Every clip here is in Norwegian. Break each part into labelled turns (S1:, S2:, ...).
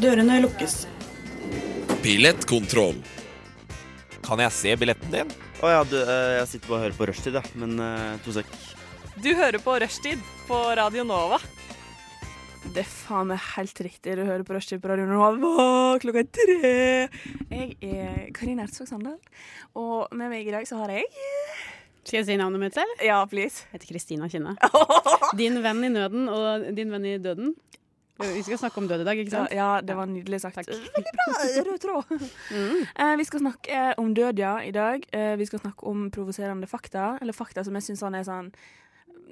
S1: Dørene lukkes.
S2: Billettkontroll.
S3: Kan jeg se billetten din?
S4: Å ja, du, eh, jeg sitter bare og hører på rushtid, jeg. Men eh, to sek.
S5: Du hører på Rushtid på Radio Nova.
S6: Det er faen meg helt riktig. Du hører på Rushtid på Radio Nova klokka tre. Jeg er Karine Ertsvåg Sandal, og med meg i dag så har jeg
S7: Skal jeg si navnet mitt selv?
S6: Ja, please.
S7: Jeg heter Kristina Kinne. Din venn i nøden og din venn i døden. Vi skal snakke om død i dag, ikke
S6: Ja,
S7: sant?
S6: ja, det var nydelig sagt.
S7: Takk.
S6: Veldig bra, rød tråd.
S5: Mm.
S6: Eh, vi skal snakke eh, om død, ja, i dag. Eh, vi skal snakke om provoserende fakta, eller fakta som jeg syns sånn er sånn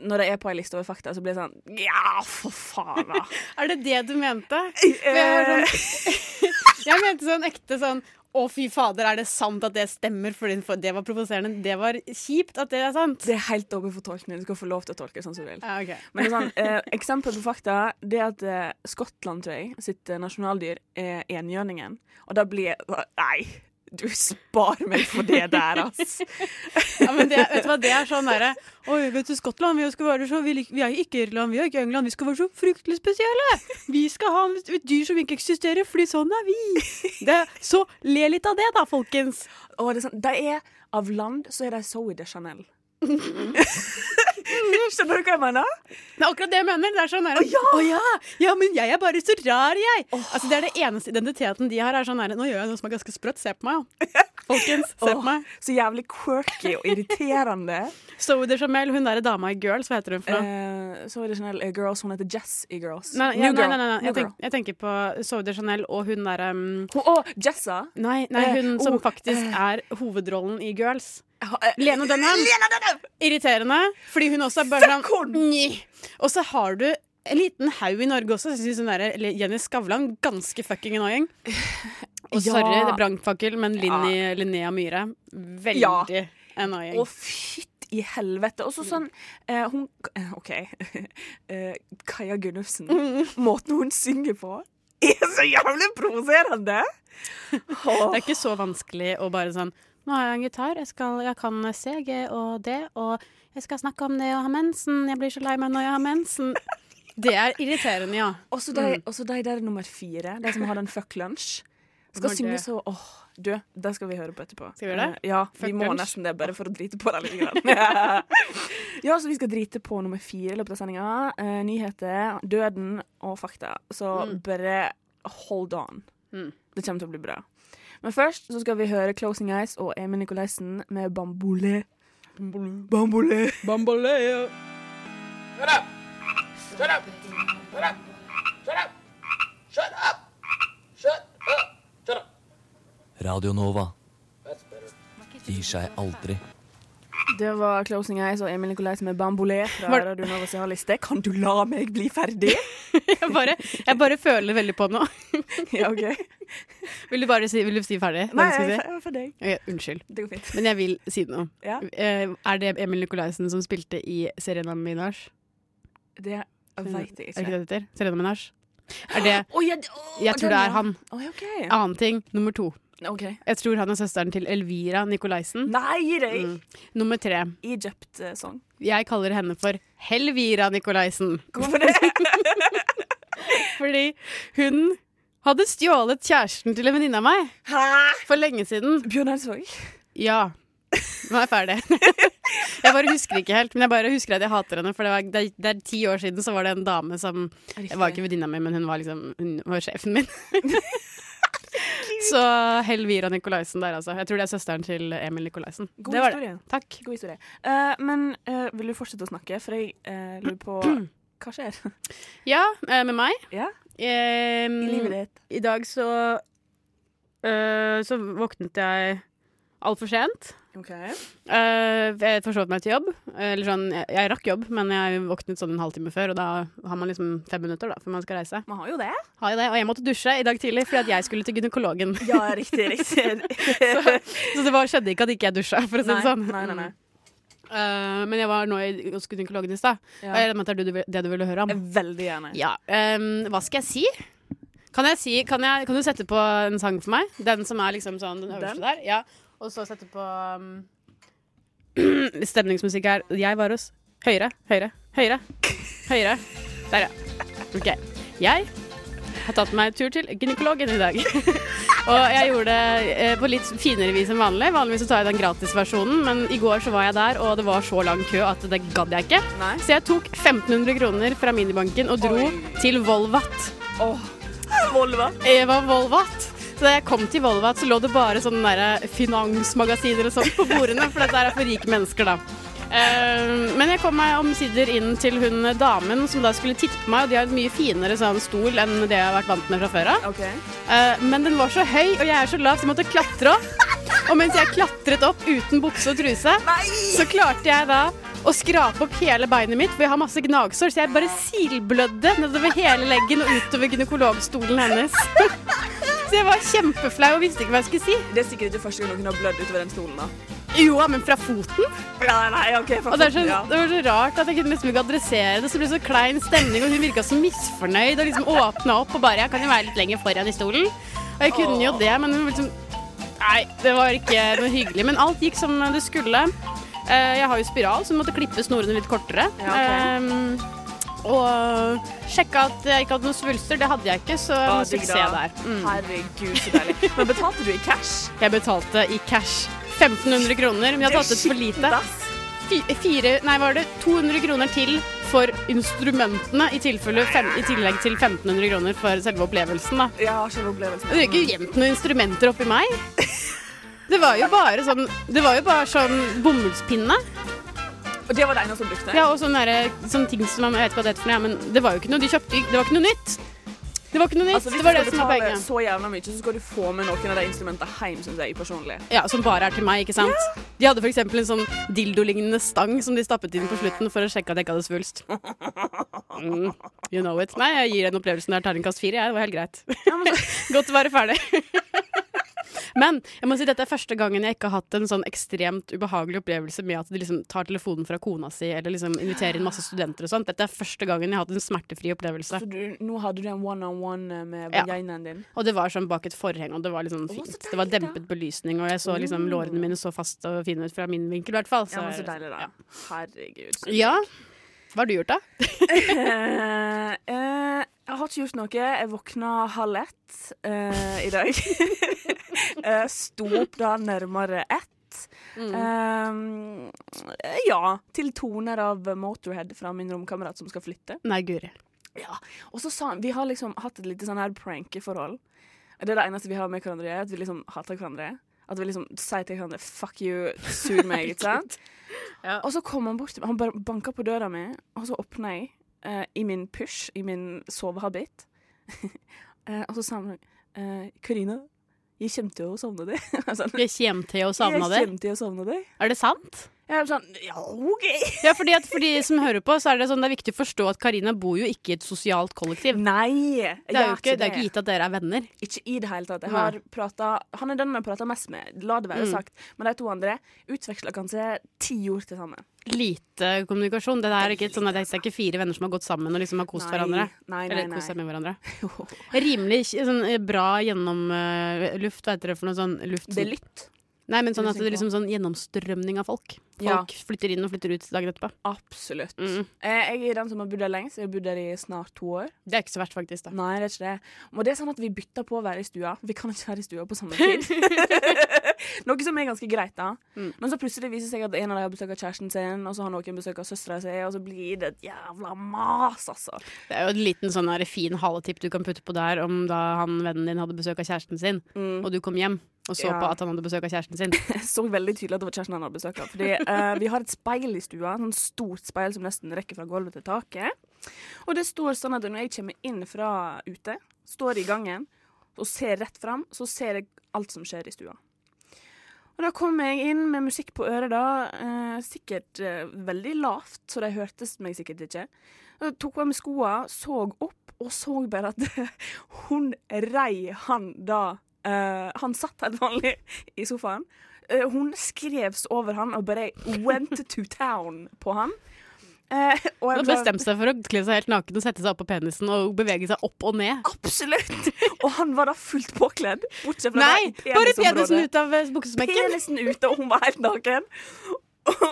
S6: Når det er på ei liste over fakta, så blir det sånn Ja, for faen, da!
S7: Er det det du mente? For Jeg, var sånn, jeg mente sånn ekte sånn Å, fy fader, er det sant at det stemmer? Fordi for det var provoserende. Det var kjipt at det er sant.
S6: Det er helt åpen for tolkning. Du skal få lov til å tolke sånn som du vil.
S7: Ja, ok.
S6: Men det er sånn, eh, eksempel på fakta det er at eh, Skottland tror jeg, sitt eh, nasjonaldyr er enhjørningen. Og da blir jeg Nei, du spar meg for det der, ass!
S7: Ja, men det, vet du hva, det er sånn derre Oi, vet du, Skottland, vi skal være så Vi, lik- vi er jo ikke Irland, vi er ikke England. Vi skal være så fryktelig spesielle! Vi skal ha et dyr som ikke eksisterer, fordi sånn er vi! Det, så le litt av det, da, folkens.
S6: Og det er sånn, de er av land, så er de Zoe de Chanel. Skjønner du hva jeg mener?
S7: Det er akkurat det jeg mener. Det er sånn her, ja! ja! ja, men jeg er bare så rar, jeg! Altså, det er det eneste identiteten de har. er sånn her, Nå gjør jeg noe som er ganske sprøtt. Se på meg, ja. Folkens, se på
S6: Åh.
S7: meg.
S6: Så jævlig quirky og irriterende.
S7: Zoe de Chamel, hun derre dama i Girls, hva heter hun for noe?
S6: Eh, Zoe de Chanel er girls. Hun heter Jess i Girls.
S7: Nei, ja,
S6: New
S7: nei,
S6: girl.
S7: nei, nei, nei.
S6: New
S7: Jeg, tenk,
S6: girl.
S7: jeg tenker på Zoe de Chanel og hun derre um,
S6: Hun- Å, Jessa!
S7: Nei, nei,
S6: Eh,
S7: hun som
S6: oh,
S7: faktisk er hovedrollen i Girls. Lene Dunham. Irriterende, fordi hun også er bare sånn Nyi. Og så har du en liten haug i Norge også. Jeg synes hun der, eller Jenny Skavlan ganske fucking annoying. Og
S6: Ja.
S7: sorry, det er brannfakkel, men Linni, Linnea Myhre Veldig
S6: Ja.
S7: annoying.
S6: Å, fytt i helvete. Og så sånn eh, Hun eh, OK. Eh, Kaja Gunnufsen. Måten hun synger på, er så jævlig provoserende! Åh.
S7: Det er ikke så vanskelig å bare sånn Nå har jeg en gitar, jeg, skal, jeg kan C, G og D, og jeg skal snakke om det å ha mensen. Jeg blir så lei meg når jeg har mensen. Det er irriterende, ja.
S6: Og så
S7: Mm.
S6: de, og så de der nummer fire, de som har den fuck lunch, skal
S7: Var
S6: synge
S7: det-
S6: så Åh, du, det skal vi høre på etterpå.
S7: Skal vi gjøre det?
S6: Eh, Ja,
S7: Fuck
S6: vi må
S7: lunch.
S6: nesten det, bare for å drite på det litt. Grann. ja, så vi skal drite på nummer fire i løpet av sendinga. Eh, nyheter, døden og fakta. Så bare hold on.
S7: Mm.
S6: Det kommer til å bli bra. Men først så skal vi høre Closing Eyes og Emil Nikolaisen med Bambole. Bambole.
S8: Radio Nova gir seg aldri.
S6: Det var Closing Eyes og Emil Nikolaisen med Bambole fra
S7: Var-
S6: Radio Novas liste. Kan du la meg bli ferdig?
S7: Jeg bare, jeg bare føler veldig på det nå.
S6: Ja, OK.
S7: Vil du bare si, vil du si ferdig?
S6: Nei,
S7: det du
S6: jeg
S7: skulle
S6: er fer- ferdig.
S7: si? Ok, unnskyld,
S6: Det går fint.
S7: men jeg vil si noe.
S6: Ja.
S7: Eh, Er det Emil Nikolaisen som spilte i Serena Minaj?
S6: Det veit jeg
S7: Er det ikke
S6: ikke.
S7: det det heter? Serena Minaj? Er det
S6: Å, ja, det- å,
S7: Jeg tror
S6: den,
S7: det
S6: ja.
S7: er han.
S6: Å, ja, OK.
S7: Annen ting, nummer to.
S6: Ok.
S7: Jeg tror han er søsteren til Elvira Nikolaisen.
S6: Nei, det er eh,
S7: Mm. Nummer tre.
S6: Egypt-sang.
S7: Jeg kaller henne for Helvira Nikolaisen.
S6: Hvorfor det?
S7: Fordi hun hadde stjålet kjæresten til en venninne av meg
S6: Hæ?
S7: for lenge siden.
S6: Bjørn Eidsvåg.
S7: Ja. Nå er jeg ferdig. jeg bare husker ikke helt, men jeg bare husker at jeg hater henne. For det, var, det, er- det er ti år siden så var det en dame som Jeg var ikke venninna mi, men hun var liksom Hun var sjefen min. så Helvira Nikolaisen der, altså. Jeg tror det er søsteren til Emil Nikolaisen.
S6: God
S7: det var
S6: historie.
S7: det. Takk.
S6: God historie. Eh, men eh, vil du fortsette å snakke, for jeg eh, lurer på Hva skjer
S7: Ja, eh, med meg.
S6: Ja. i
S7: Ehm,
S6: livet ditt?
S7: I dag så eh, Så våknet jeg altfor sent.
S6: OK.
S7: Eh, jeg forsov meg til jobb. Eller sånn, jeg, jeg rakk jobb, men jeg våknet sånn en halvtime før, og da har man liksom fem minutter da, før man skal reise.
S6: Man har jo det.
S7: Har jeg det, Og jeg måtte dusje i dag tidlig fordi at jeg skulle til gynekologen.
S6: Ja, riktig, riktig.
S7: Så det var, skjedde ikke at ikke jeg dusja, for å si
S6: nei,
S7: det sånn.
S6: nei, nei, nei.
S7: Eh, men jeg var nå i- hos gynekologen i stad.
S6: Ja.
S7: Og Jeg regner med at det er du- du- det du ville høre om.
S6: Veldig gjerne.
S7: Ja, ehm, hva skal jeg si? Kan, jeg si kan, jeg, kan du sette på en sang for meg? Den som er liksom sånn den øverste
S6: Den?
S7: der? Ja. Og så sette på um, stemningsmusikk her. Jeg var hos Høyre, høyre, høyre. Høyre. Der, ja. OK. Jeg har tatt meg tur til gynekologen i dag. og jeg gjorde det eh, på litt finere vis enn vanlig. Vanligvis så tar jeg den gratisversjonen, men i går så var jeg der, og det var så lang kø at det gadd jeg ikke.
S6: Nei.
S7: Så jeg tok 1500 kroner fra minibanken og dro til Volvat.
S6: Volva.
S7: Eva Volvat. Så da jeg kom til Volvat, så lå det bare sånne der eh, finansmagasiner og sånt på bordene, for dette er for rike mennesker, da. Eh, men jeg kom meg omsider inn til hun damen som da skulle titte på meg, og de har et mye finere sånn stol enn det jeg har vært vant med fra før av.
S6: OK.
S7: Eh, men den var så høy, og jeg er så lav, så jeg måtte klatre opp. Og mens jeg klatret opp uten bukse og truse, så klarte jeg da å skrape opp hele beinet mitt, for jeg har masse gnagsår, så jeg bare silblødde nedover hele leggen og utover gynekologstolen hennes. Så jeg var kjempeflau og visste ikke hva jeg skulle si.
S6: Det er sikkert ikke første gang noen har blødd utover den stolen. da.
S7: Jo, men fra foten.
S6: Nei, nei, ok.
S7: Og det, er så, det var så rart at jeg kunne liksom ikke adressere det, så det ble så klein stemning, og hun virka så misfornøyd og liksom åpna opp og bare Jeg kan jo være litt lenger foran i stolen. Og jeg kunne jo det, men hun liksom Nei, det var ikke noe hyggelig. Men alt gikk som det skulle. Eh, Jeg har jo spiral, så jeg måtte klippe snorene litt kortere.
S6: Ja, ok.
S7: Ehm, og sjekka at jeg ikke hadde noen svulster. Det hadde jeg ikke, så
S6: Å, digg da.
S7: suksess der. Mm.
S6: Herregud, så deilig. Men betalte du i cash?
S7: Jeg betalte i cash 1500 kroner, men jeg hadde tatt ut for lite. Fi- fire, nei, var det 200 kroner til for instrumentene, i, tilfelle fem, i tillegg til 1500 kroner for selve opplevelsen. Da.
S6: Ja, selve opplevelsen.
S7: Det er jo ikke gjemt noen instrumenter oppi meg. Det var jo bare sånn, det var jo bare sånn bomullspinne.
S6: Og det var det eneste hun brukte?
S7: Ja, og sånne, der, sånne ting som jeg vet ikke hva det heter for noe, ja, men det var jo ikke noe de kjøpte. Det var ikke noe nytt. Det var ikke noe nytt.
S6: Altså, hvis
S7: det var
S6: du
S7: det
S6: skal
S7: som var
S6: betale
S7: poenget.
S6: så jævla mye, så skal du få med noen av de instrumentene hjem, synes jeg personlig.
S7: Ja, Som bare er til meg, ikke sant? De hadde f.eks. en sånn dildolignende stang som de stappet inn på slutten for å sjekke at jeg ikke hadde svulst. Mm, you know it. Nei, jeg gir den opplevelsen der terningkast fire, jeg. Det var helt greit. Godt å være ferdig. Men jeg må si dette er første gangen jeg ikke har hatt en sånn ekstremt ubehagelig opplevelse med at de liksom tar telefonen fra kona si eller liksom inviterer inn masse studenter og sånt. Dette er første gangen jeg har hatt en smertefri opplevelse.
S6: Så du, nå hadde du en one-on-one eh, med
S7: Ja.
S6: vaginaen din.
S7: Og det var sånn bak et forheng, og det var liksom fint.
S6: så
S7: Det var
S6: deilig, da. Oh.
S7: dempet belysning, og jeg så liksom lårene mine så fast og fine ut fra min vinkel, i hvert fall.
S6: Ja, men så deilig, da.
S7: sånn, Ja.
S6: Herregud. så
S7: ja. Hva har du gjort, da?
S6: Eh, eh, jeg har ikke gjort noe. Jeg våkna halv ett eh, i dag. uh, sto opp da nærmere ett.
S7: Mm.
S6: Eh, ja. Til toner av Motorhead fra min romkamerat som skal flytte.
S7: Nei, Guri.
S6: Ja. Og så sa han Vi har liksom hatt et lite sånn her prankeforhold. Det er det eneste vi har med hverandre, er at vi liksom hater hverandre. At vi liksom sier til hverandre 'fuck you', sur meg, ikke sant?
S7: Ja.
S6: Og så kom han bort til meg, han bare banka på døra mi, og så åpna jeg eh, i min push, i min sovehabit. Eh, og så sa han eh, 'Karina, jeg kommer til å savne deg'. Jeg var sånn,
S7: Jeg kommer til å savne
S6: Jeg
S7: deg.
S6: kommer til å savne deg.
S7: Er det sant?
S6: Jeg var sånn Ja, OK.
S7: Ja, fordi at for de som hører på, så er det sånn det er viktig å forstå at Karina bor jo ikke i et sosialt kollektiv.
S6: Nei. jeg
S7: Det er jo
S6: gjør
S7: ikke, det er ikke gitt at dere er venner.
S6: Ikke i det hele tatt. Jeg
S7: Nei.
S6: har pratet, han er den jeg prater mest med, la det være
S7: Mm.
S6: sagt. Men de to andre utveksla kanskje ti ord til sammen.
S7: Lite kommunikasjon. Det er ikke, sånn at det er ikke fire venner som har gått sammen og liksom har kost hverandre.
S6: Nei, nei,
S7: Eller kost seg
S6: nei.
S7: med hverandre. Rimelig kj- sånn, eh, bra gjennom eh, luft, hva heter det for noe sånn luft?
S6: Det er lytt.
S7: Nei, men sånn at
S6: Luft-
S7: det er liksom sånn gjennomstrømning av folk. Folk
S6: Ja.
S7: flytter inn og flytter ut dagen etterpå.
S6: Absolutt.
S7: Mm.
S6: Eh, Jeg er den som har bodd der lengst. Jeg har bodd der i snart to år.
S7: Det er ikke så verst, faktisk. da.
S6: Nei, det er ikke det. Og det er sånn at vi bytter på å være i stua. Vi kan ikke være i stua på samme tid. Noe som er ganske greit, da.
S7: Mm.
S6: Men så plutselig viser det seg at en av dem har besøk av kjæresten sin, og så har noen besøk av søstera si, og så blir det et jævla mas, altså.
S7: Det er jo en liten sånn her fin haletipp du kan putte på der om da han vennen din hadde besøk av kjæresten sin,
S6: Mm.
S7: og du kom hjem og så
S6: Ja.
S7: på at han hadde besøk av kjæresten sin.
S6: Jeg så veldig tydelig at det var kjæresten han hadde besøk av. Fordi eh, vi har et speil i stua, et sånn stort speil som nesten rekker fra gulvet til taket. Og det står sånn at når jeg kommer inn fra ute, står i gangen og ser rett fram, så ser jeg alt som skjer i stua. Og da kom jeg inn med musikk på øret, da. eh, sikkert eh, veldig lavt, så de hørte meg sikkert ikke. Så tok jeg med skoa, så opp, og så bare at hun rei han da. eh, han satt helt vanlig i sofaen. Eh, hun skrevs over han og bare went to town på han. Eh, og jeg bare-
S7: Han bestemte seg for å kle seg helt naken og sette seg opp på penisen og bevege seg opp og ned.
S6: Absolutt! Og han var da fullt påkledd. Bortsett fra
S7: Nei!
S6: det
S7: Bare
S6: penisområdet.
S7: penisen ut av eh, buksesmekken!
S6: Penisen ute, og hun var helt naken.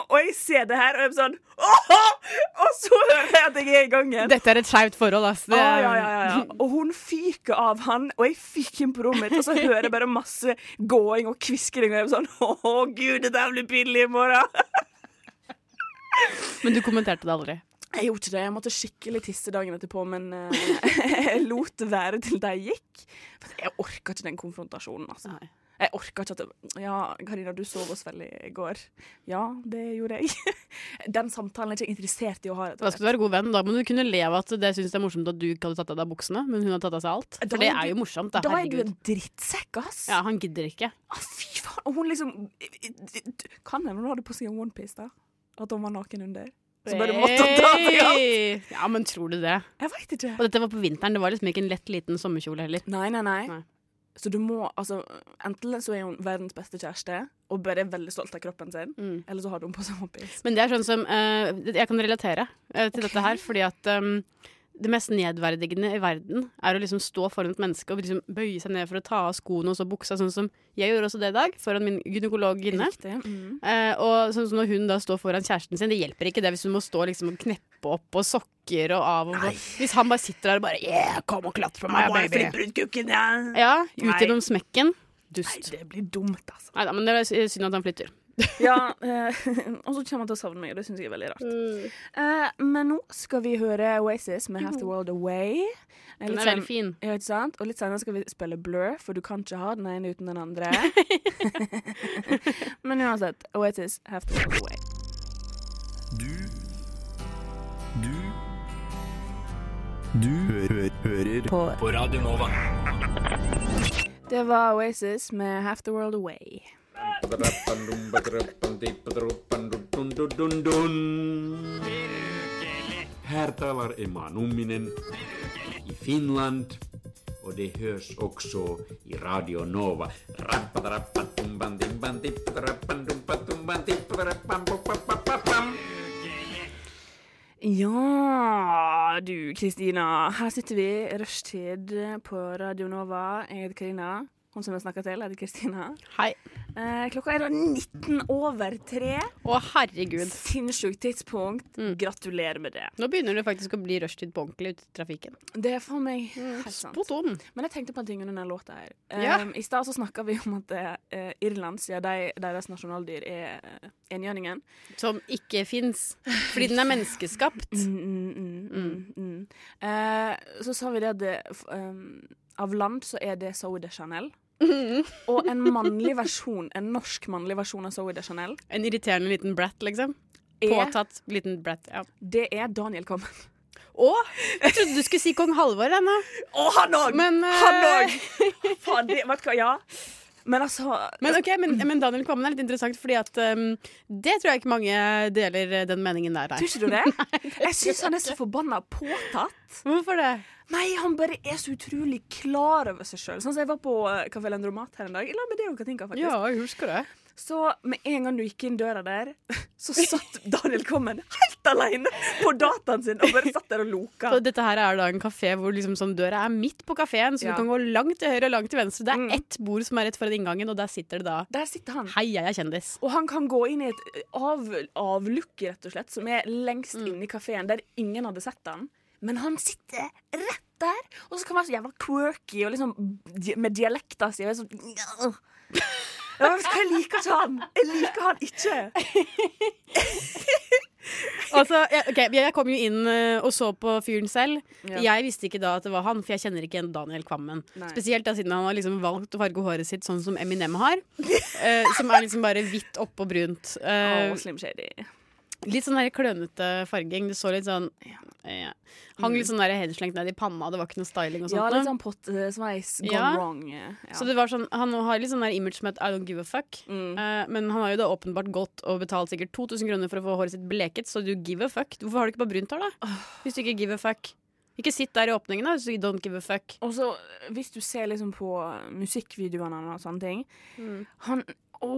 S6: og jeg ser det her, og jeg blir sånn Åh! Og så hører jeg at jeg er i gang igjen.
S7: Dette er et skjevt forhold, ass.
S6: Å,
S7: Det,
S6: ja, ja, ja, ja. Og hun fyker av han, og jeg fyker inn på rommet mitt, og så hører jeg bare masse gåing og kviskering, og jeg blir sånn Å, gud, dette her blir pinlig i morgen.
S7: Men du kommenterte det aldri.
S6: Jeg gjorde ikke det. Jeg måtte skikkelig tisse dagen etterpå, men eh, jeg lot det være til de gikk. For jeg orka ikke den konfrontasjonen, altså.
S7: Nei.
S6: Jeg orka ikke at det Ja, Karina, du sov oss veldig i går. Ja, det gjorde jeg. Den samtalen er jeg ikke interessert i å ha. rett og
S7: Da skal du være god venn. Da må du kunne le av at det syns det er morsomt at du ikke hadde tatt av deg buksene, men hun har tatt av seg alt.
S6: Da
S7: For det
S6: er
S7: er
S6: du-
S7: jo morsomt.
S6: slett.
S7: Da,
S6: Da er du
S7: herregud.
S6: en drittsekk, ass.
S7: Ja, han gidder ikke.
S6: Ah, fy faen. Og hun liksom Kan hende hun hadde på seg en onepiece, da. At hun var naken under. Så bare måtte hun ta av seg alt.
S7: Hey! Ja, men tror du det?
S6: Jeg veit
S7: Og
S6: ikke.
S7: dette var på vinteren. Det var liksom ikke en lett liten sommerkjole heller.
S6: Nei, nei, nei,
S7: Nei.
S6: Så du må altså Enten så er hun verdens beste kjæreste og bare er veldig stolt av kroppen sin,
S7: Mm.
S6: eller så har hun på seg onepiece.
S7: Men det er sånn som eh, Jeg kan relatere eh, til dette her, fordi at eh, det mest nedverdigende i verden er å liksom stå foran et menneske og liksom bøye seg ned for å ta av skoene og så buksa, sånn som jeg gjorde også det i dag, foran min gynekolog inne.
S6: Riktig. Mm.
S7: Eh, og sånn som når hun da står foran kjæresten sin, det hjelper ikke det hvis hun må stå liksom og kneppe opp og sokker og av og på. Hvis han bare sitter der og bare yeah, Eh, kom og klatt på meg, baby.
S6: ut kukken, ja.
S7: Ja, ut
S6: Nei.
S7: gjennom smekken.
S6: Nei,
S7: Dust.
S6: det blir dumt, altså.
S7: Nei da, men det er synd at han flytter.
S6: Ja, eh, og så kommer han til å savne meg, og det syns jeg er veldig rart.
S7: Mm.
S6: Eh, men nå skal vi høre Oasis med Half the World Away. Eh,
S7: Den
S6: litt
S7: er
S6: sen-
S7: veldig fin.
S6: Ja, ikke sant? Og litt senere skal vi spille Blur, for du kan ikke ha den ene uten den andre. men uansett, Oasis Half the World Away.
S1: Du Du Du hø hø hører på. på Radio Nova.
S6: Det var Oasis med Half the World Away.
S2: Här talar Emma Numminen i Finland och det hörs också i Radio Nova.
S6: Ja du, Kristina. Her sitter vi, rushtid på Radio Nova. Jeg heter Karina. Hun som jeg snakker til, heter Kristina.
S7: Hei.
S6: Eh, klokka er da 19 over tre.
S7: Å, herregud.
S6: Sinnssykt tidspunkt. Gratulerer med det.
S7: Nå begynner det faktisk å bli rushtid på ordentlig ute i trafikken.
S6: Mm, Det er for meg helt sant.
S7: På tom.
S6: Men jeg tenkte på en ting under den låta her.
S7: Ja.
S6: Um, I stad så snakka vi om at eh, Irland, siden de, deres nasjonaldyr er uh, enhjørningen
S7: Som ikke fins. Fordi den er menneskeskapt.
S6: mm, mm, mm, mm. Eh, Så sa vi det at det, f- um, av land så er det Zoe de Chanel. Og en mannlig versjon, en norsk mannlig versjon av Zoe de Chanel,
S7: En irriterende liten brat, liksom.
S6: er,
S7: Påtatt liten brat. Ja.
S6: det er Daniel Common.
S7: Å! Jeg trodde du skulle si kong Halvor ennå.
S6: Og han òg!
S7: Men, eh,
S6: Han òg! Faen, det- vet du hva, ja. Men altså
S7: Men, ok, men, men Daniel Kvammen er litt interessant, fordi at um, det tror jeg ikke mange deler eh, den meningen der.
S6: Tror
S7: Nei.
S6: ikke du det? Jeg syns han er så forbanna påtatt.
S7: Hvorfor det?
S6: Nei, han bare er så utrolig klar over seg sjøl. Sånn som jeg var på eh, Café Landromat her en dag. I lag med deg og Katinka, faktisk.
S7: jeg husker det.
S6: Så med en gang du gikk inn døra der, så satt Daniel Kommen helt aleine på dataen sin og bare satt der og loka.
S7: Og dette her er da en kafé hvor liksom sånn døra er midt på kafeen, så
S6: Ja.
S7: du kan gå langt til høyre og langt til venstre. Det er
S6: Mm.
S7: ett bord som er rett foran inngangen, og der sitter det da
S6: Der sitter han.
S7: Hei, jeg er kjendis.
S6: Og han kan gå inn i et eh, av, avlukke, rett og slett, som er lengst
S7: Mm.
S6: inne i kafeen, der ingen hadde sett han. Men han sitter rett der, og så kan han være så jævla quirky og liksom di- med dialekta si. og er sånn, ja. Ja, men Jeg liker ikke han! Jeg liker han ikke!
S7: Altså, jeg, ok, jeg kom jo inn eh, og så på fyren selv.
S6: Ja.
S7: Jeg visste ikke da at det var han, for jeg kjenner ikke igjen Daniel Kvammen.
S6: Nei.
S7: Spesielt da siden han har liksom valgt å farge håret sitt sånn som Eminem har. eh, som er liksom bare hvitt oppå brunt. Eh,
S6: Å, Slim Shady.
S7: litt sånn der klønete farging. Det så litt sånn ja. Hang litt sånn der henslengt ned i panna, det var ikke noe styling og sånt.
S6: Ja,
S7: noe.
S6: litt sånn pottesveis gone
S7: Ja.
S6: wrong. Ja. Mm.
S7: Så det var sånn, Han har litt sånn der image som et I don't give a fuck. Eh, men han har jo da åpenbart gått og betalt sikkert 2000 kroner for å få håret sitt bleket, så du give a fuck. Hvorfor har du ikke bare brunt hår, da? Hvis du ikke give a fuck. Ikke sitt der i åpningen da, hvis du ikke don't give a fuck.
S6: Og så, hvis du ser liksom på musikkvideoene og sånne ting
S7: Mm.
S6: Han Å,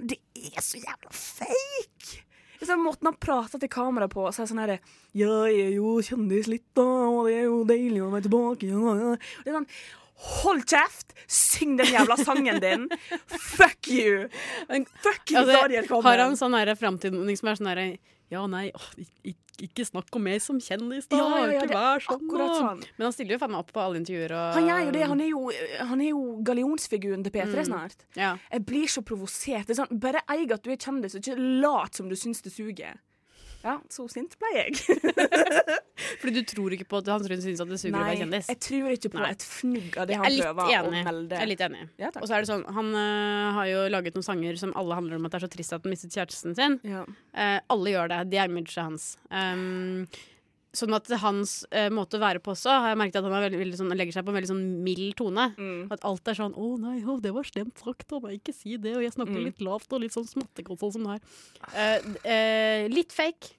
S6: det er så jævla fake! Det er sånn Måten han prater til kamera på, så er det sånn herre Jeg er jo kjendis litt, da, og det er jo deilig å være tilbake. Ja, ja. Det er sånn Hold kjeft! Syng den jævla sangen din! Fuck you! Fuck you,
S7: Altså,
S6: Daniel Kvammen!
S7: har han sånn her framtidning som er sånn herre Ja, nei, åh, ik- ik- ikke snakk om meg som kjendis, da.
S6: Ja, ja, ja,
S7: ikke
S6: det er
S7: vær sånn,
S6: akkurat
S7: da.
S6: sånn.
S7: Men han stiller jo faen meg opp på alle intervjuer og
S6: Han gjør jo det. Han er jo, eh, han er jo gallionsfiguren til
S7: Mm.
S6: P3 snart.
S7: Ja.
S6: Jeg blir så provosert. Det er sånn, bare eig at du er kjendis, og ikke lat som du syns det suger. Ja, så sint ble jeg.
S7: Fordi du tror ikke på at han syns at det suger å være kjendis?
S6: jeg tror ikke på
S7: Nei.
S6: et fnugg av det
S7: Jeg er
S6: han
S7: litt
S6: prøver å
S7: enig.
S6: melde.
S7: Jeg er litt enig.
S6: Ja, takk.
S7: og så er det sånn, Han øh, har jo laget noen sanger som alle handler om at det er så trist at han mistet kjæresten sin.
S6: Ja.
S7: Eh, alle gjør det. Det er imaget hans. Um, sånn at hans eh, måte å være på også, har jeg merket at han er veldig, veldig sånn, legger seg på en veldig sånn mild tone.
S6: Mm.
S7: At alt er sånn 'Å nei, å, det var slemt sagt av meg, ikke si det', og jeg
S6: Mm.
S7: snakker litt lavt og litt sånn smattegodt sånn som det her. Eh, d- eh, litt fake.